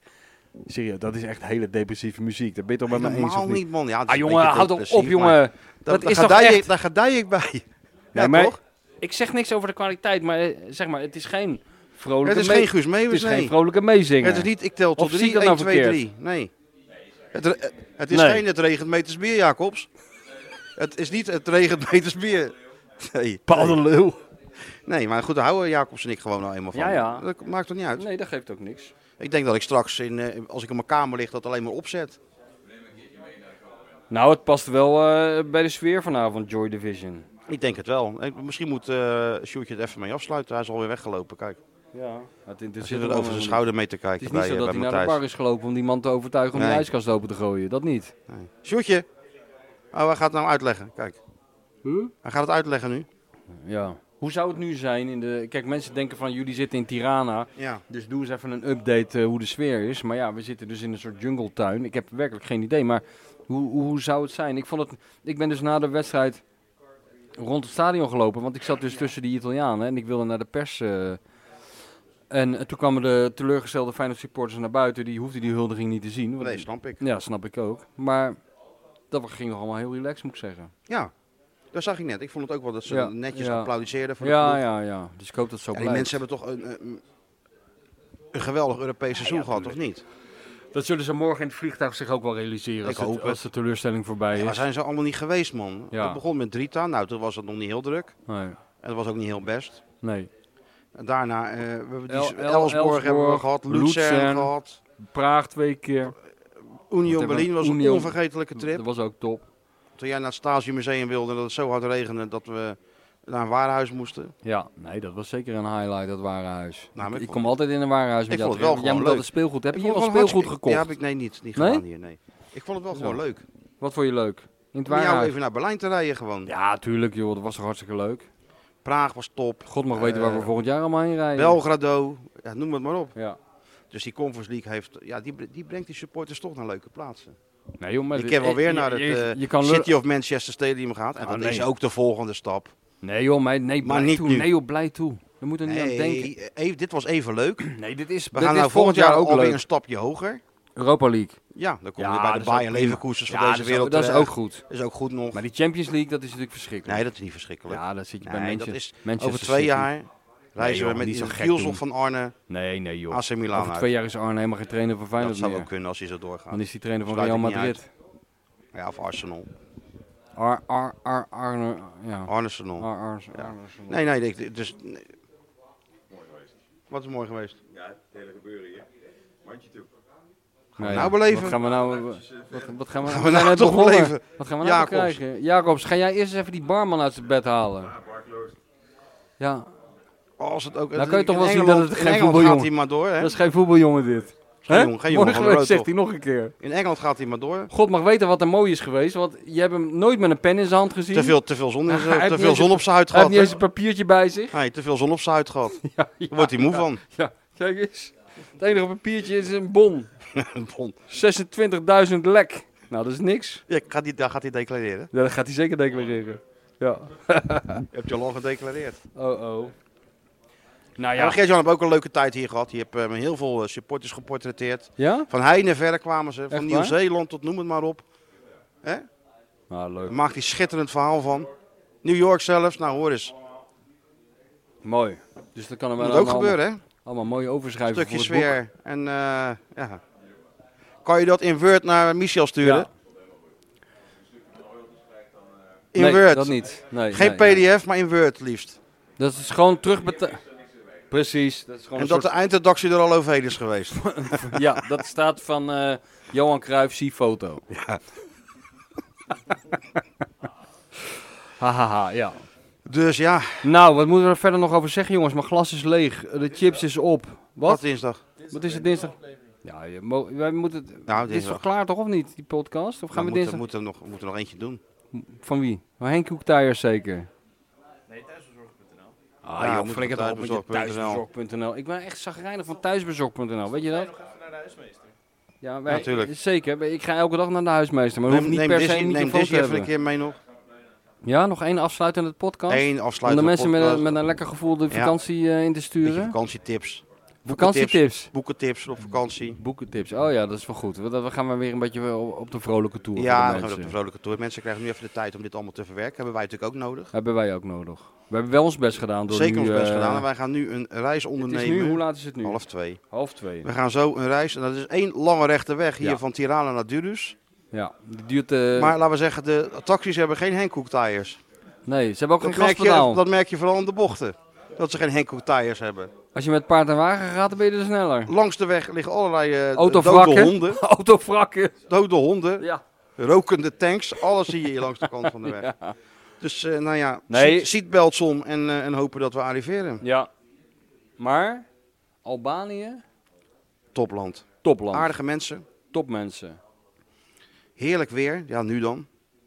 [SPEAKER 2] Serieus, dat is echt hele depressieve muziek. Daar ben je toch met me eens
[SPEAKER 1] Normaal
[SPEAKER 2] of niet?
[SPEAKER 1] niet, man. Ja, het is
[SPEAKER 2] Ah
[SPEAKER 1] een
[SPEAKER 2] jongen,
[SPEAKER 1] beetje
[SPEAKER 2] houd toch
[SPEAKER 1] depressief,
[SPEAKER 2] op
[SPEAKER 1] maar
[SPEAKER 2] jongen.
[SPEAKER 1] Daar,
[SPEAKER 2] Dat
[SPEAKER 1] daar
[SPEAKER 2] is toch
[SPEAKER 1] gedij ik-
[SPEAKER 2] echt...
[SPEAKER 1] daar gedij ik bij. Ja,
[SPEAKER 2] Nee, maar
[SPEAKER 1] toch?
[SPEAKER 2] Ik zeg niks over de kwaliteit, maar eh, zeg maar, het is geen vrolijke
[SPEAKER 1] Het is
[SPEAKER 2] mee-
[SPEAKER 1] geen Guus
[SPEAKER 2] Het
[SPEAKER 1] Meeuwis,
[SPEAKER 2] is geen
[SPEAKER 1] nee.
[SPEAKER 2] vrolijke meezinger.
[SPEAKER 1] Het is niet, ik tel tot
[SPEAKER 2] Of zie ik
[SPEAKER 1] 3,
[SPEAKER 2] dat nou
[SPEAKER 1] 1, 2, 3.
[SPEAKER 2] verkeerd?
[SPEAKER 1] Nee. Het, re- het is
[SPEAKER 2] Nee.
[SPEAKER 1] geen het regent meters bier, Jacobs. het is niet het regent meters bier. Nee.
[SPEAKER 2] Paul de Leeuw.
[SPEAKER 1] nee, maar goed, daar houden Jacobs en ik gewoon nou eenmaal van.
[SPEAKER 2] Ja, ja.
[SPEAKER 1] Dat maakt toch niet uit?
[SPEAKER 2] Nee, dat geeft ook niks.
[SPEAKER 1] Ik denk dat ik straks, in, eh, als ik in mijn kamer lig, dat alleen maar opzet.
[SPEAKER 2] Nou, het past wel eh, bij de sfeer vanavond, Joy Division.
[SPEAKER 1] Ik denk het wel. Ik- Misschien moet eh Sjoerdje het even mee afsluiten. Hij is alweer weggelopen, kijk.
[SPEAKER 2] Ja. Het, het,
[SPEAKER 1] Hij
[SPEAKER 2] het,
[SPEAKER 1] zit er over zijn schouder mee te
[SPEAKER 2] Het
[SPEAKER 1] kijken
[SPEAKER 2] is niet
[SPEAKER 1] bij,
[SPEAKER 2] zo
[SPEAKER 1] eh,
[SPEAKER 2] dat
[SPEAKER 1] bij
[SPEAKER 2] hij naar de bar
[SPEAKER 1] Matthijs.
[SPEAKER 2] is gelopen om die man te overtuigen om die
[SPEAKER 1] Nee.
[SPEAKER 2] ijskast open te gooien. Dat niet.
[SPEAKER 1] Nee. Sjoerdje! Oh, hij gaat het nou uitleggen, kijk. Hij gaat het uitleggen nu.
[SPEAKER 2] Ja. Hoe zou het nu zijn? In de... Kijk, mensen denken van jullie zitten in Tirana.
[SPEAKER 1] Ja.
[SPEAKER 2] Dus doe eens even een update eh, hoe de sfeer is. Maar ja, we zitten dus in een soort jungletuin. Ik heb werkelijk geen idee. Maar hoe, hoe, hoe zou het zijn? Ik, vond het, ik ben dus na de wedstrijd rond het stadion gelopen. Want ik zat dus tussen die Italianen en ik wilde naar de pers. eh. en eh, toen kwamen de teleurgestelde Feyenoord supporters naar buiten. Die hoefden die huldiging niet te zien. want-
[SPEAKER 1] Nee, snap ik.
[SPEAKER 2] Ja, snap ik ook. Maar dat ging nog allemaal heel relaxed, moet ik zeggen.
[SPEAKER 1] Ja, dat zag ik net. Ik vond het ook wel dat ze
[SPEAKER 2] Ja,
[SPEAKER 1] netjes
[SPEAKER 2] ja.
[SPEAKER 1] applaudisseerden voor de
[SPEAKER 2] Ja,
[SPEAKER 1] ploeg.
[SPEAKER 2] ja, ja. Dus ik hoop dat het zo
[SPEAKER 1] En die
[SPEAKER 2] blijft.
[SPEAKER 1] mensen hebben toch een, een, een geweldig Europees seizoen gehad, of niet?
[SPEAKER 2] Dat zullen ze morgen in het vliegtuig zich ook wel realiseren.
[SPEAKER 1] Ik
[SPEAKER 2] als,
[SPEAKER 1] hoop
[SPEAKER 2] het,
[SPEAKER 1] het.
[SPEAKER 2] als de teleurstelling voorbij
[SPEAKER 1] Ja,
[SPEAKER 2] is.
[SPEAKER 1] maar zijn ze allemaal niet geweest, man.
[SPEAKER 2] Ja.
[SPEAKER 1] Het begon met Drita. Nou, toen was het nog niet heel druk.
[SPEAKER 2] Nee.
[SPEAKER 1] En dat was ook niet heel best.
[SPEAKER 2] nee.
[SPEAKER 1] En daarna eh, we hebben die
[SPEAKER 2] El-
[SPEAKER 1] Elsborg,
[SPEAKER 2] El-
[SPEAKER 1] hebben we
[SPEAKER 2] Elsborg,
[SPEAKER 1] gehad, Luzern,
[SPEAKER 2] Luzern.
[SPEAKER 1] gehad.
[SPEAKER 2] Praag twee keer.
[SPEAKER 1] Union
[SPEAKER 2] hebben we?
[SPEAKER 1] Berlin was een
[SPEAKER 2] Union.
[SPEAKER 1] onvergetelijke trip.
[SPEAKER 2] Dat was ook top.
[SPEAKER 1] Toen jij naar het Stasiummuseum wilde en dat het zo hard regende dat we naar een warenhuis moesten.
[SPEAKER 2] Ja, nee, dat was zeker een highlight, dat warenhuis.
[SPEAKER 1] Nou, maar
[SPEAKER 2] ik,
[SPEAKER 1] ik
[SPEAKER 2] ik
[SPEAKER 1] vond-
[SPEAKER 2] kom altijd in een warenhuis met
[SPEAKER 1] Ik
[SPEAKER 2] jou
[SPEAKER 1] vond het wel
[SPEAKER 2] terecht.
[SPEAKER 1] gewoon
[SPEAKER 2] Jij moet
[SPEAKER 1] leuk.
[SPEAKER 2] altijd speelgoed hebben. Heb
[SPEAKER 1] Ik
[SPEAKER 2] je al
[SPEAKER 1] vond het wel
[SPEAKER 2] speelgoed
[SPEAKER 1] hartstikke-
[SPEAKER 2] gekocht?
[SPEAKER 1] Ja, heb ik nee, niet, niet
[SPEAKER 2] Nee?
[SPEAKER 1] gedaan hier, nee. Ik vond het wel gewoon
[SPEAKER 2] Zo.
[SPEAKER 1] leuk.
[SPEAKER 2] Wat vond je leuk? In het
[SPEAKER 1] Om jou
[SPEAKER 2] warenhuis?
[SPEAKER 1] even naar Berlijn te rijden gewoon.
[SPEAKER 2] Ja, tuurlijk joh. Dat was toch hartstikke leuk.
[SPEAKER 1] Praag was top.
[SPEAKER 2] God mag weten waar we
[SPEAKER 1] Eh,
[SPEAKER 2] volgend jaar allemaal heen rijden.
[SPEAKER 1] Belgrado, ja, noem het maar op.
[SPEAKER 2] Ja.
[SPEAKER 1] Dus Dus die Conference League heeft, ja, die, bre- die brengt die supporters toch naar leuke plaatsen.
[SPEAKER 2] Nee, joh, maar
[SPEAKER 1] Ik
[SPEAKER 2] dit-
[SPEAKER 1] heb wel
[SPEAKER 2] eh,
[SPEAKER 1] weer
[SPEAKER 2] je-
[SPEAKER 1] naar het
[SPEAKER 2] je-
[SPEAKER 1] eh,
[SPEAKER 2] je kan lullen-
[SPEAKER 1] City of Manchester Stadium gehad. En
[SPEAKER 2] Ah,
[SPEAKER 1] dat
[SPEAKER 2] nee.
[SPEAKER 1] is ook de volgende stap.
[SPEAKER 2] Nee joh, meid, nee,
[SPEAKER 1] Maar
[SPEAKER 2] blij
[SPEAKER 1] niet
[SPEAKER 2] toe.
[SPEAKER 1] nu.
[SPEAKER 2] Nee joh, blij toe. Je moet er niet aan denken.
[SPEAKER 1] Nee, eh, dit was even leuk. We
[SPEAKER 2] Nee, dit is,
[SPEAKER 1] gaan nou volgend jaar ook alweer een stapje hoger.
[SPEAKER 2] Europa League.
[SPEAKER 1] Ja, dan kom je
[SPEAKER 2] Ja,
[SPEAKER 1] bij
[SPEAKER 2] dat
[SPEAKER 1] de
[SPEAKER 2] is ook
[SPEAKER 1] Bayern
[SPEAKER 2] prima.
[SPEAKER 1] Leverkusens van deze
[SPEAKER 2] dat is
[SPEAKER 1] wereld
[SPEAKER 2] ook- dat is
[SPEAKER 1] terecht.
[SPEAKER 2] ook goed.
[SPEAKER 1] is ook goed nog.
[SPEAKER 2] Maar die Champions League, dat is natuurlijk verschrikkelijk.
[SPEAKER 1] Nee, dat is niet verschrikkelijk.
[SPEAKER 2] ja, dat zit je bij
[SPEAKER 1] Nee,
[SPEAKER 2] Manche-
[SPEAKER 1] dat is
[SPEAKER 2] Manchester
[SPEAKER 1] Over twee
[SPEAKER 2] City.
[SPEAKER 1] jaar reizen
[SPEAKER 2] joh,
[SPEAKER 1] we met
[SPEAKER 2] niet zo
[SPEAKER 1] Ilse
[SPEAKER 2] gek
[SPEAKER 1] Kielson
[SPEAKER 2] doen.
[SPEAKER 1] van Arne
[SPEAKER 2] Nee, nee joh.
[SPEAKER 1] AC Milan
[SPEAKER 2] Over
[SPEAKER 1] uit.
[SPEAKER 2] twee jaar is Arne helemaal geen trainer van
[SPEAKER 1] dat
[SPEAKER 2] Feyenoord
[SPEAKER 1] zou
[SPEAKER 2] meer.
[SPEAKER 1] ook kunnen als hij zo doorgaat.
[SPEAKER 2] Dan is hij trainer van
[SPEAKER 1] Sluit
[SPEAKER 2] Real
[SPEAKER 1] ik niet
[SPEAKER 2] Madrid.
[SPEAKER 1] Ja, of Arsenal.
[SPEAKER 2] Ar, ar, ar, Arne, ja.
[SPEAKER 1] Arsenal.
[SPEAKER 2] Ar, ar,
[SPEAKER 1] Ja.
[SPEAKER 2] Arne.
[SPEAKER 1] Nee, nee, ik- dus... nee. Wat is mooi geweest?
[SPEAKER 2] Nee,
[SPEAKER 1] nou beleven.
[SPEAKER 2] Wat gaan we nou... Wat, wat gaan we,
[SPEAKER 1] Gaan we
[SPEAKER 2] we zijn
[SPEAKER 1] nou
[SPEAKER 2] net
[SPEAKER 1] toch
[SPEAKER 2] begonnen.
[SPEAKER 1] beleven?
[SPEAKER 2] Wat gaan we nou
[SPEAKER 1] Jacobs.
[SPEAKER 2] krijgen? Jacobs, ga jij eerst eens even die barman uit zijn bed halen? Ja,
[SPEAKER 1] Oh, Als het ook,
[SPEAKER 2] Nou kan je toch
[SPEAKER 1] in
[SPEAKER 2] wel zien
[SPEAKER 1] Engeland-
[SPEAKER 2] dat het
[SPEAKER 1] in
[SPEAKER 2] geen
[SPEAKER 1] Engeland
[SPEAKER 2] voetbaljongen-
[SPEAKER 1] gaat hij maar door, hè?
[SPEAKER 2] dat is geen voetbaljongen dit.
[SPEAKER 1] Geen
[SPEAKER 2] Hè?
[SPEAKER 1] jongen, geen jongen, gewoon
[SPEAKER 2] Morgen
[SPEAKER 1] rood,
[SPEAKER 2] zegt
[SPEAKER 1] toch?
[SPEAKER 2] hij nog een keer.
[SPEAKER 1] In Engeland gaat hij maar door.
[SPEAKER 2] God mag weten wat er mooi is geweest, want je hebt hem nooit met een pen in zijn hand gezien.
[SPEAKER 1] Te veel, te veel zon, in
[SPEAKER 2] Hij
[SPEAKER 1] zijn-
[SPEAKER 2] heeft
[SPEAKER 1] te
[SPEAKER 2] niet
[SPEAKER 1] veel
[SPEAKER 2] eens
[SPEAKER 1] zon
[SPEAKER 2] een-
[SPEAKER 1] op zijn huid
[SPEAKER 2] Hij heeft
[SPEAKER 1] gehad.
[SPEAKER 2] niet eens
[SPEAKER 1] hè?
[SPEAKER 2] een papiertje bij zich.
[SPEAKER 1] Nee, te veel zon op zijn huid gehad.
[SPEAKER 2] Ja,
[SPEAKER 1] Daar
[SPEAKER 2] ja,
[SPEAKER 1] wordt hij moe van.
[SPEAKER 2] ja. kijk eens. Het enige papiertje is een bon.
[SPEAKER 1] Bon.
[SPEAKER 2] 26.000 lek. Nou, dat is niks.
[SPEAKER 1] Ja, gaat die, daar gaat hij declareren.
[SPEAKER 2] Ja, dat gaat hij zeker declareren. Ja.
[SPEAKER 1] Heb je al lang gedeclareerd.
[SPEAKER 2] Oh, oh. Nou
[SPEAKER 1] Ja.
[SPEAKER 2] ja.
[SPEAKER 1] Gert-Jan heeft ook een leuke tijd hier gehad. Je hebt eh, heel veel eh, supporters geportretteerd.
[SPEAKER 2] Ja?
[SPEAKER 1] Van heine verre kwamen ze.
[SPEAKER 2] Echt
[SPEAKER 1] Van
[SPEAKER 2] waar?
[SPEAKER 1] Nieuw-Zeeland tot noem het maar op. Hè?
[SPEAKER 2] Nou, leuk.
[SPEAKER 1] Daar maakt hij schitterend verhaal van. New York zelfs. Nou, hoor eens.
[SPEAKER 2] Mooi. Dus dat kan er wel
[SPEAKER 1] Moet ook
[SPEAKER 2] allemaal-
[SPEAKER 1] gebeuren, hè?
[SPEAKER 2] Allemaal mooi overschrijven
[SPEAKER 1] Stukje
[SPEAKER 2] voor het boek.
[SPEAKER 1] sfeer. En eh, ja. Kan je dat in Word naar Michel sturen?
[SPEAKER 2] Ja.
[SPEAKER 1] In
[SPEAKER 2] nee,
[SPEAKER 1] Word.
[SPEAKER 2] dat niet. Nee,
[SPEAKER 1] Geen
[SPEAKER 2] nee, nee.
[SPEAKER 1] PDF, maar in Word liefst.
[SPEAKER 2] Dat is gewoon terugbetaald. Precies. Dat is gewoon
[SPEAKER 1] En
[SPEAKER 2] een
[SPEAKER 1] dat de
[SPEAKER 2] soort-
[SPEAKER 1] eindredactie er al overheen is geweest.
[SPEAKER 2] Ja, dat staat van eh, Johan Cruijff, zie foto. Ja. Hahaha, ja.
[SPEAKER 1] Dus ja,
[SPEAKER 2] Nou, wat moeten we er verder nog over zeggen, jongens? Mijn glas is leeg, eh, de chips is op.
[SPEAKER 1] wat
[SPEAKER 2] Wat?
[SPEAKER 1] dinsdag.
[SPEAKER 2] Wat is het dinsdag? Ja, je mo- wij moeten... het
[SPEAKER 1] Nou,
[SPEAKER 2] dit is toch
[SPEAKER 1] dinsdag.
[SPEAKER 2] klaar, toch, of niet, die podcast? Of gaan
[SPEAKER 1] Nou,
[SPEAKER 2] we
[SPEAKER 1] moeten,
[SPEAKER 2] dinsdag...
[SPEAKER 1] moeten, we nog, moeten we nog eentje doen.
[SPEAKER 2] Van wie? Van Henk Hoektaaier zeker? Ah,
[SPEAKER 1] Ja,
[SPEAKER 2] joh,
[SPEAKER 1] moet
[SPEAKER 2] flink
[SPEAKER 1] op
[SPEAKER 2] het op met je
[SPEAKER 1] thuisbezorg.nl.
[SPEAKER 2] thuisbezorg.nl. Ik ben echt zagrijnig van thuisbezorg.nl, weet je dat? Ja, wij,
[SPEAKER 1] Ja, tuurlijk.
[SPEAKER 2] Zeker, ik ga elke dag naar de huismeester, maar hoef
[SPEAKER 1] Neem,
[SPEAKER 2] niet
[SPEAKER 1] neem
[SPEAKER 2] per se
[SPEAKER 1] Disney,
[SPEAKER 2] een
[SPEAKER 1] neem
[SPEAKER 2] microfoon te
[SPEAKER 1] Disney even
[SPEAKER 2] hebben.
[SPEAKER 1] een keer mee nog.
[SPEAKER 2] Ja, nog één afsluitende podcast.
[SPEAKER 1] Eén
[SPEAKER 2] om de
[SPEAKER 1] afsluitende
[SPEAKER 2] mensen met,
[SPEAKER 1] podcast.
[SPEAKER 2] een- met een lekker gevoel de
[SPEAKER 1] Ja.
[SPEAKER 2] vakantie eh, in te
[SPEAKER 1] Beetje
[SPEAKER 2] sturen.
[SPEAKER 1] vakantietips.
[SPEAKER 2] Vakantietips.
[SPEAKER 1] Boekentips op vakantie.
[SPEAKER 2] Boekentips. Oh ja, dat is wel goed. We, we gaan maar weer een beetje wel op de vrolijke toer.
[SPEAKER 1] ja,
[SPEAKER 2] voor
[SPEAKER 1] dan gaan
[SPEAKER 2] de
[SPEAKER 1] we op de
[SPEAKER 2] mensen.
[SPEAKER 1] vrolijke tour. Mensen krijgen nu even de tijd om dit allemaal te verwerken. Hebben wij natuurlijk ook nodig.
[SPEAKER 2] Hebben wij ook nodig. We hebben wel ons best gedaan. Door
[SPEAKER 1] Zeker
[SPEAKER 2] nu,
[SPEAKER 1] ons best
[SPEAKER 2] eh,
[SPEAKER 1] gedaan. En wij gaan nu een reis
[SPEAKER 2] het
[SPEAKER 1] ondernemen.
[SPEAKER 2] is nu, hoe laat is het nu?
[SPEAKER 1] Half twee.
[SPEAKER 2] Half twee.
[SPEAKER 1] We gaan zo een reis. En dat is één lange rechte weg hier
[SPEAKER 2] Ja.
[SPEAKER 1] van Tirana naar Durus.
[SPEAKER 2] Ja, die duurt... eh,
[SPEAKER 1] maar laten we zeggen, de taxis hebben geen Hankook tires.
[SPEAKER 2] nee, ze hebben ook
[SPEAKER 1] Dat
[SPEAKER 2] geen
[SPEAKER 1] merk, je,
[SPEAKER 2] gaspedaal.
[SPEAKER 1] dat merk je vooral in de bochten. Dat ze geen Hankook tires hebben.
[SPEAKER 2] Als je met paard en wagen gaat, dan ben je er sneller.
[SPEAKER 1] Langs de weg liggen allerlei eh dode
[SPEAKER 2] Autovrakken.
[SPEAKER 1] honden.
[SPEAKER 2] Autovrakken.
[SPEAKER 1] Dode honden.
[SPEAKER 2] Ja.
[SPEAKER 1] Rokende tanks, alles zie je hier langs de kant van de weg. Dus eh, nou ja,
[SPEAKER 2] Nee.
[SPEAKER 1] ziet seatbelts om en, eh, en hopen dat we arriveren.
[SPEAKER 2] Ja. Maar, Albanië,
[SPEAKER 1] Topland.
[SPEAKER 2] topland.
[SPEAKER 1] Aardige mensen,
[SPEAKER 2] Topmensen.
[SPEAKER 1] heerlijk weer, ja nu dan.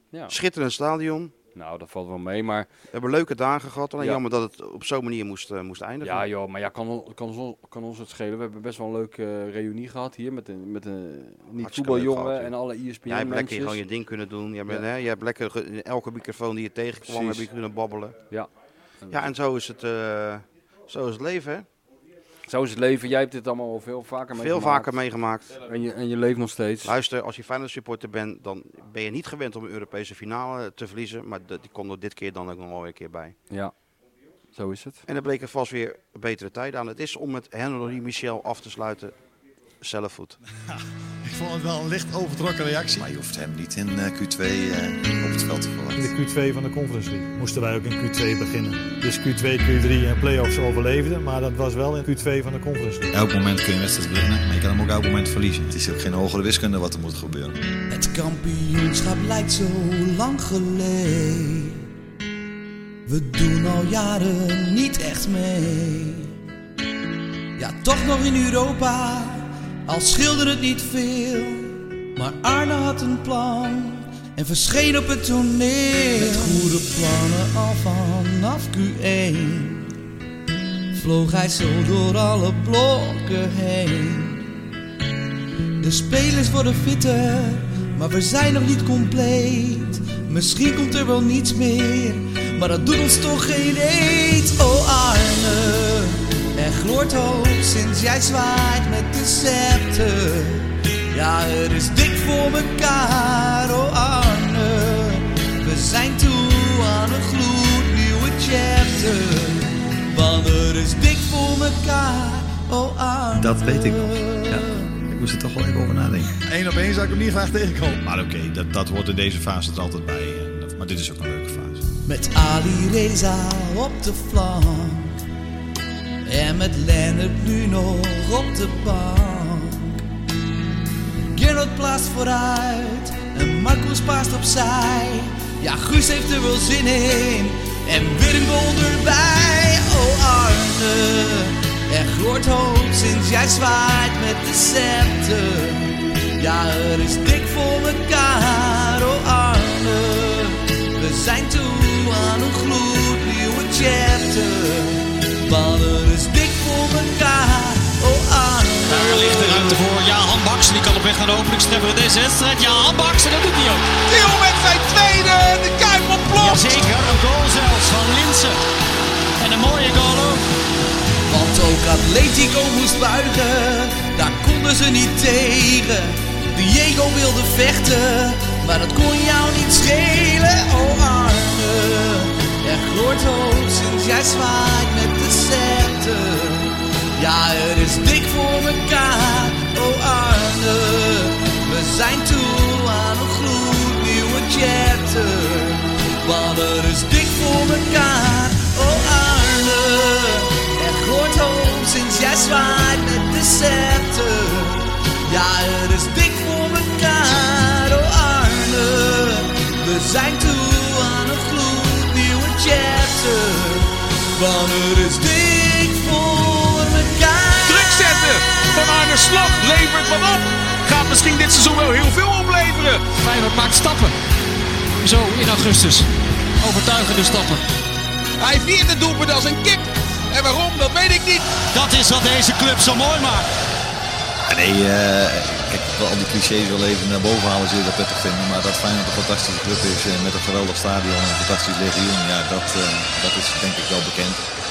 [SPEAKER 2] Ja.
[SPEAKER 1] Schitterend stadion,
[SPEAKER 2] Nou, dat valt wel mee, maar...
[SPEAKER 1] we hebben leuke dagen gehad. Alleen
[SPEAKER 2] Ja.
[SPEAKER 1] jammer dat het op zo'n manier moest, eh, moest eindigen.
[SPEAKER 2] Ja, joh, maar ja, kan, on- kan, ons- kan ons het schelen. We hebben best wel een leuke eh, reunie gehad hier met een, met een
[SPEAKER 1] leuk gehad,
[SPEAKER 2] niet-voetbaljongen
[SPEAKER 1] joh.
[SPEAKER 2] en alle E
[SPEAKER 1] Jij hebt lekker
[SPEAKER 2] ESPN-mensen.
[SPEAKER 1] gewoon je ding kunnen doen. Je, bent,
[SPEAKER 2] Ja.
[SPEAKER 1] hè, je hebt lekker ge- in elke microfoon die je tegenkwam
[SPEAKER 2] Precies.
[SPEAKER 1] heb je kunnen babbelen.
[SPEAKER 2] Ja.
[SPEAKER 1] Ja, en zo is het, eh, zo is het leven. Hè?
[SPEAKER 2] Zo is het leven. Jij hebt dit allemaal al veel vaker
[SPEAKER 1] Veel
[SPEAKER 2] meegemaakt.
[SPEAKER 1] vaker meegemaakt.
[SPEAKER 2] En je, en je leeft nog steeds.
[SPEAKER 1] Luister, als je Feyenoord supporter bent, dan ben je niet gewend om een Europese finale te verliezen. Maar dat- die komt er dit keer dan ook nog wel weer een keer bij.
[SPEAKER 2] Ja, zo is het.
[SPEAKER 1] En er bleken vast weer betere tijden aan. Het is om met Henry Michel af te sluiten. Zelfvoet.
[SPEAKER 4] Ik vond het wel een licht overtrokken reactie.
[SPEAKER 5] Maar je hoeft hem niet in eh, Q2 eh, op het veld te
[SPEAKER 6] In
[SPEAKER 5] verwachten.
[SPEAKER 6] de Q2 van de Conference League moesten wij ook in Q2 beginnen. Dus Q2, Q3 en playoffs overleefden, maar dat was wel in Q2 van de Conference League.
[SPEAKER 5] Elk moment kun je een wedstrijd winnen, maar je kan hem ook elk moment verliezen. Het is ook geen hogere wiskunde wat er moet gebeuren.
[SPEAKER 7] Het kampioenschap lijkt zo lang geleden. We doen al jaren niet echt mee. Ja, toch nog in Europa, al schilderde het niet veel. Maar Arne had een plan en verscheen op het toneel. Met goede plannen al vanaf Q1 vloog hij zo door alle blokken heen. De spelers worden fitter, maar we zijn nog niet compleet. Misschien komt er wel niets meer, maar dat doet ons toch geen eet. Oh Arne, er gloort hoop sinds jij zwaait met de scepter. Ja, het is dik voor mekaar, oh Arne. We zijn toe aan een gloednieuwe chapter. Want het is dik voor mekaar, oh Arne.
[SPEAKER 5] Dat weet ik nog. Ja, ik moest er toch wel even over nadenken.
[SPEAKER 4] Eén op één zou ik hem niet graag tegenkomen.
[SPEAKER 5] Maar oké, dat, dat hoort in deze fase er altijd bij. En dat- Maar dit is ook een leuke fase.
[SPEAKER 7] Met Ali Reza op de flank. En met Lennart nu nog op de bank. Gernot plaatst vooruit. En Marcus paast opzij. Ja, Guus heeft er wel zin in. En Willem onderbij. Oh Arne, er gloort hoop sinds jij zwaait met de scepter. Ja, er is dik voor elkaar, oh Arne. We zijn toe aan een gloednieuwe chapter. Want er is dik voor elkaar, oh Arne.
[SPEAKER 8] Daar ligt de ruimte voor. Ja, Han Baksen die kan op weg naar de openingstreffer in deze wedstrijd. Ja, Han Baksen, dat doet hij ook.
[SPEAKER 9] Tiel met zijn tweede. De Kuip ontploft.
[SPEAKER 8] Jazeker, een goal zelfs van Linsen. En een mooie goal ook.
[SPEAKER 7] Want ook Atletico moest buigen, daar konden ze niet tegen. Diego wilde vechten, maar dat kon jou niet schelen. Oh Arne, er gloort hoop sinds jij zwaait met de scepter. Ja, het is dik voor elkaar, oh Arne. We zijn toe aan een gloednieuwe chapter. Want het is dik voor elkaar, oh Arne. Er gloort hoop sinds jij zwaait met de scepter. Ja, het is dik voor elkaar, oh Arne. We zijn toe aan een gloednieuwe chapter. Want het is dik voor elkaar.
[SPEAKER 9] Druk zetten van Arne Slot. Levert wat op. Gaat misschien dit seizoen wel heel veel opleveren.
[SPEAKER 8] Feyenoord maakt stappen. Zo, in augustus. Overtuigende stappen.
[SPEAKER 9] Hij viert het doelpunt als een kip. En waarom, dat weet ik niet.
[SPEAKER 8] Dat is wat deze club zo mooi maakt.
[SPEAKER 5] Ja, Nee, eh, kijk, ik wil al die clichés wel even naar boven halen, zul je dat prettig vinden. Maar dat Feyenoord een fantastische club is eh, met een geweldig stadion en een fantastisch legioen, ja, dat, eh, dat is denk ik wel bekend.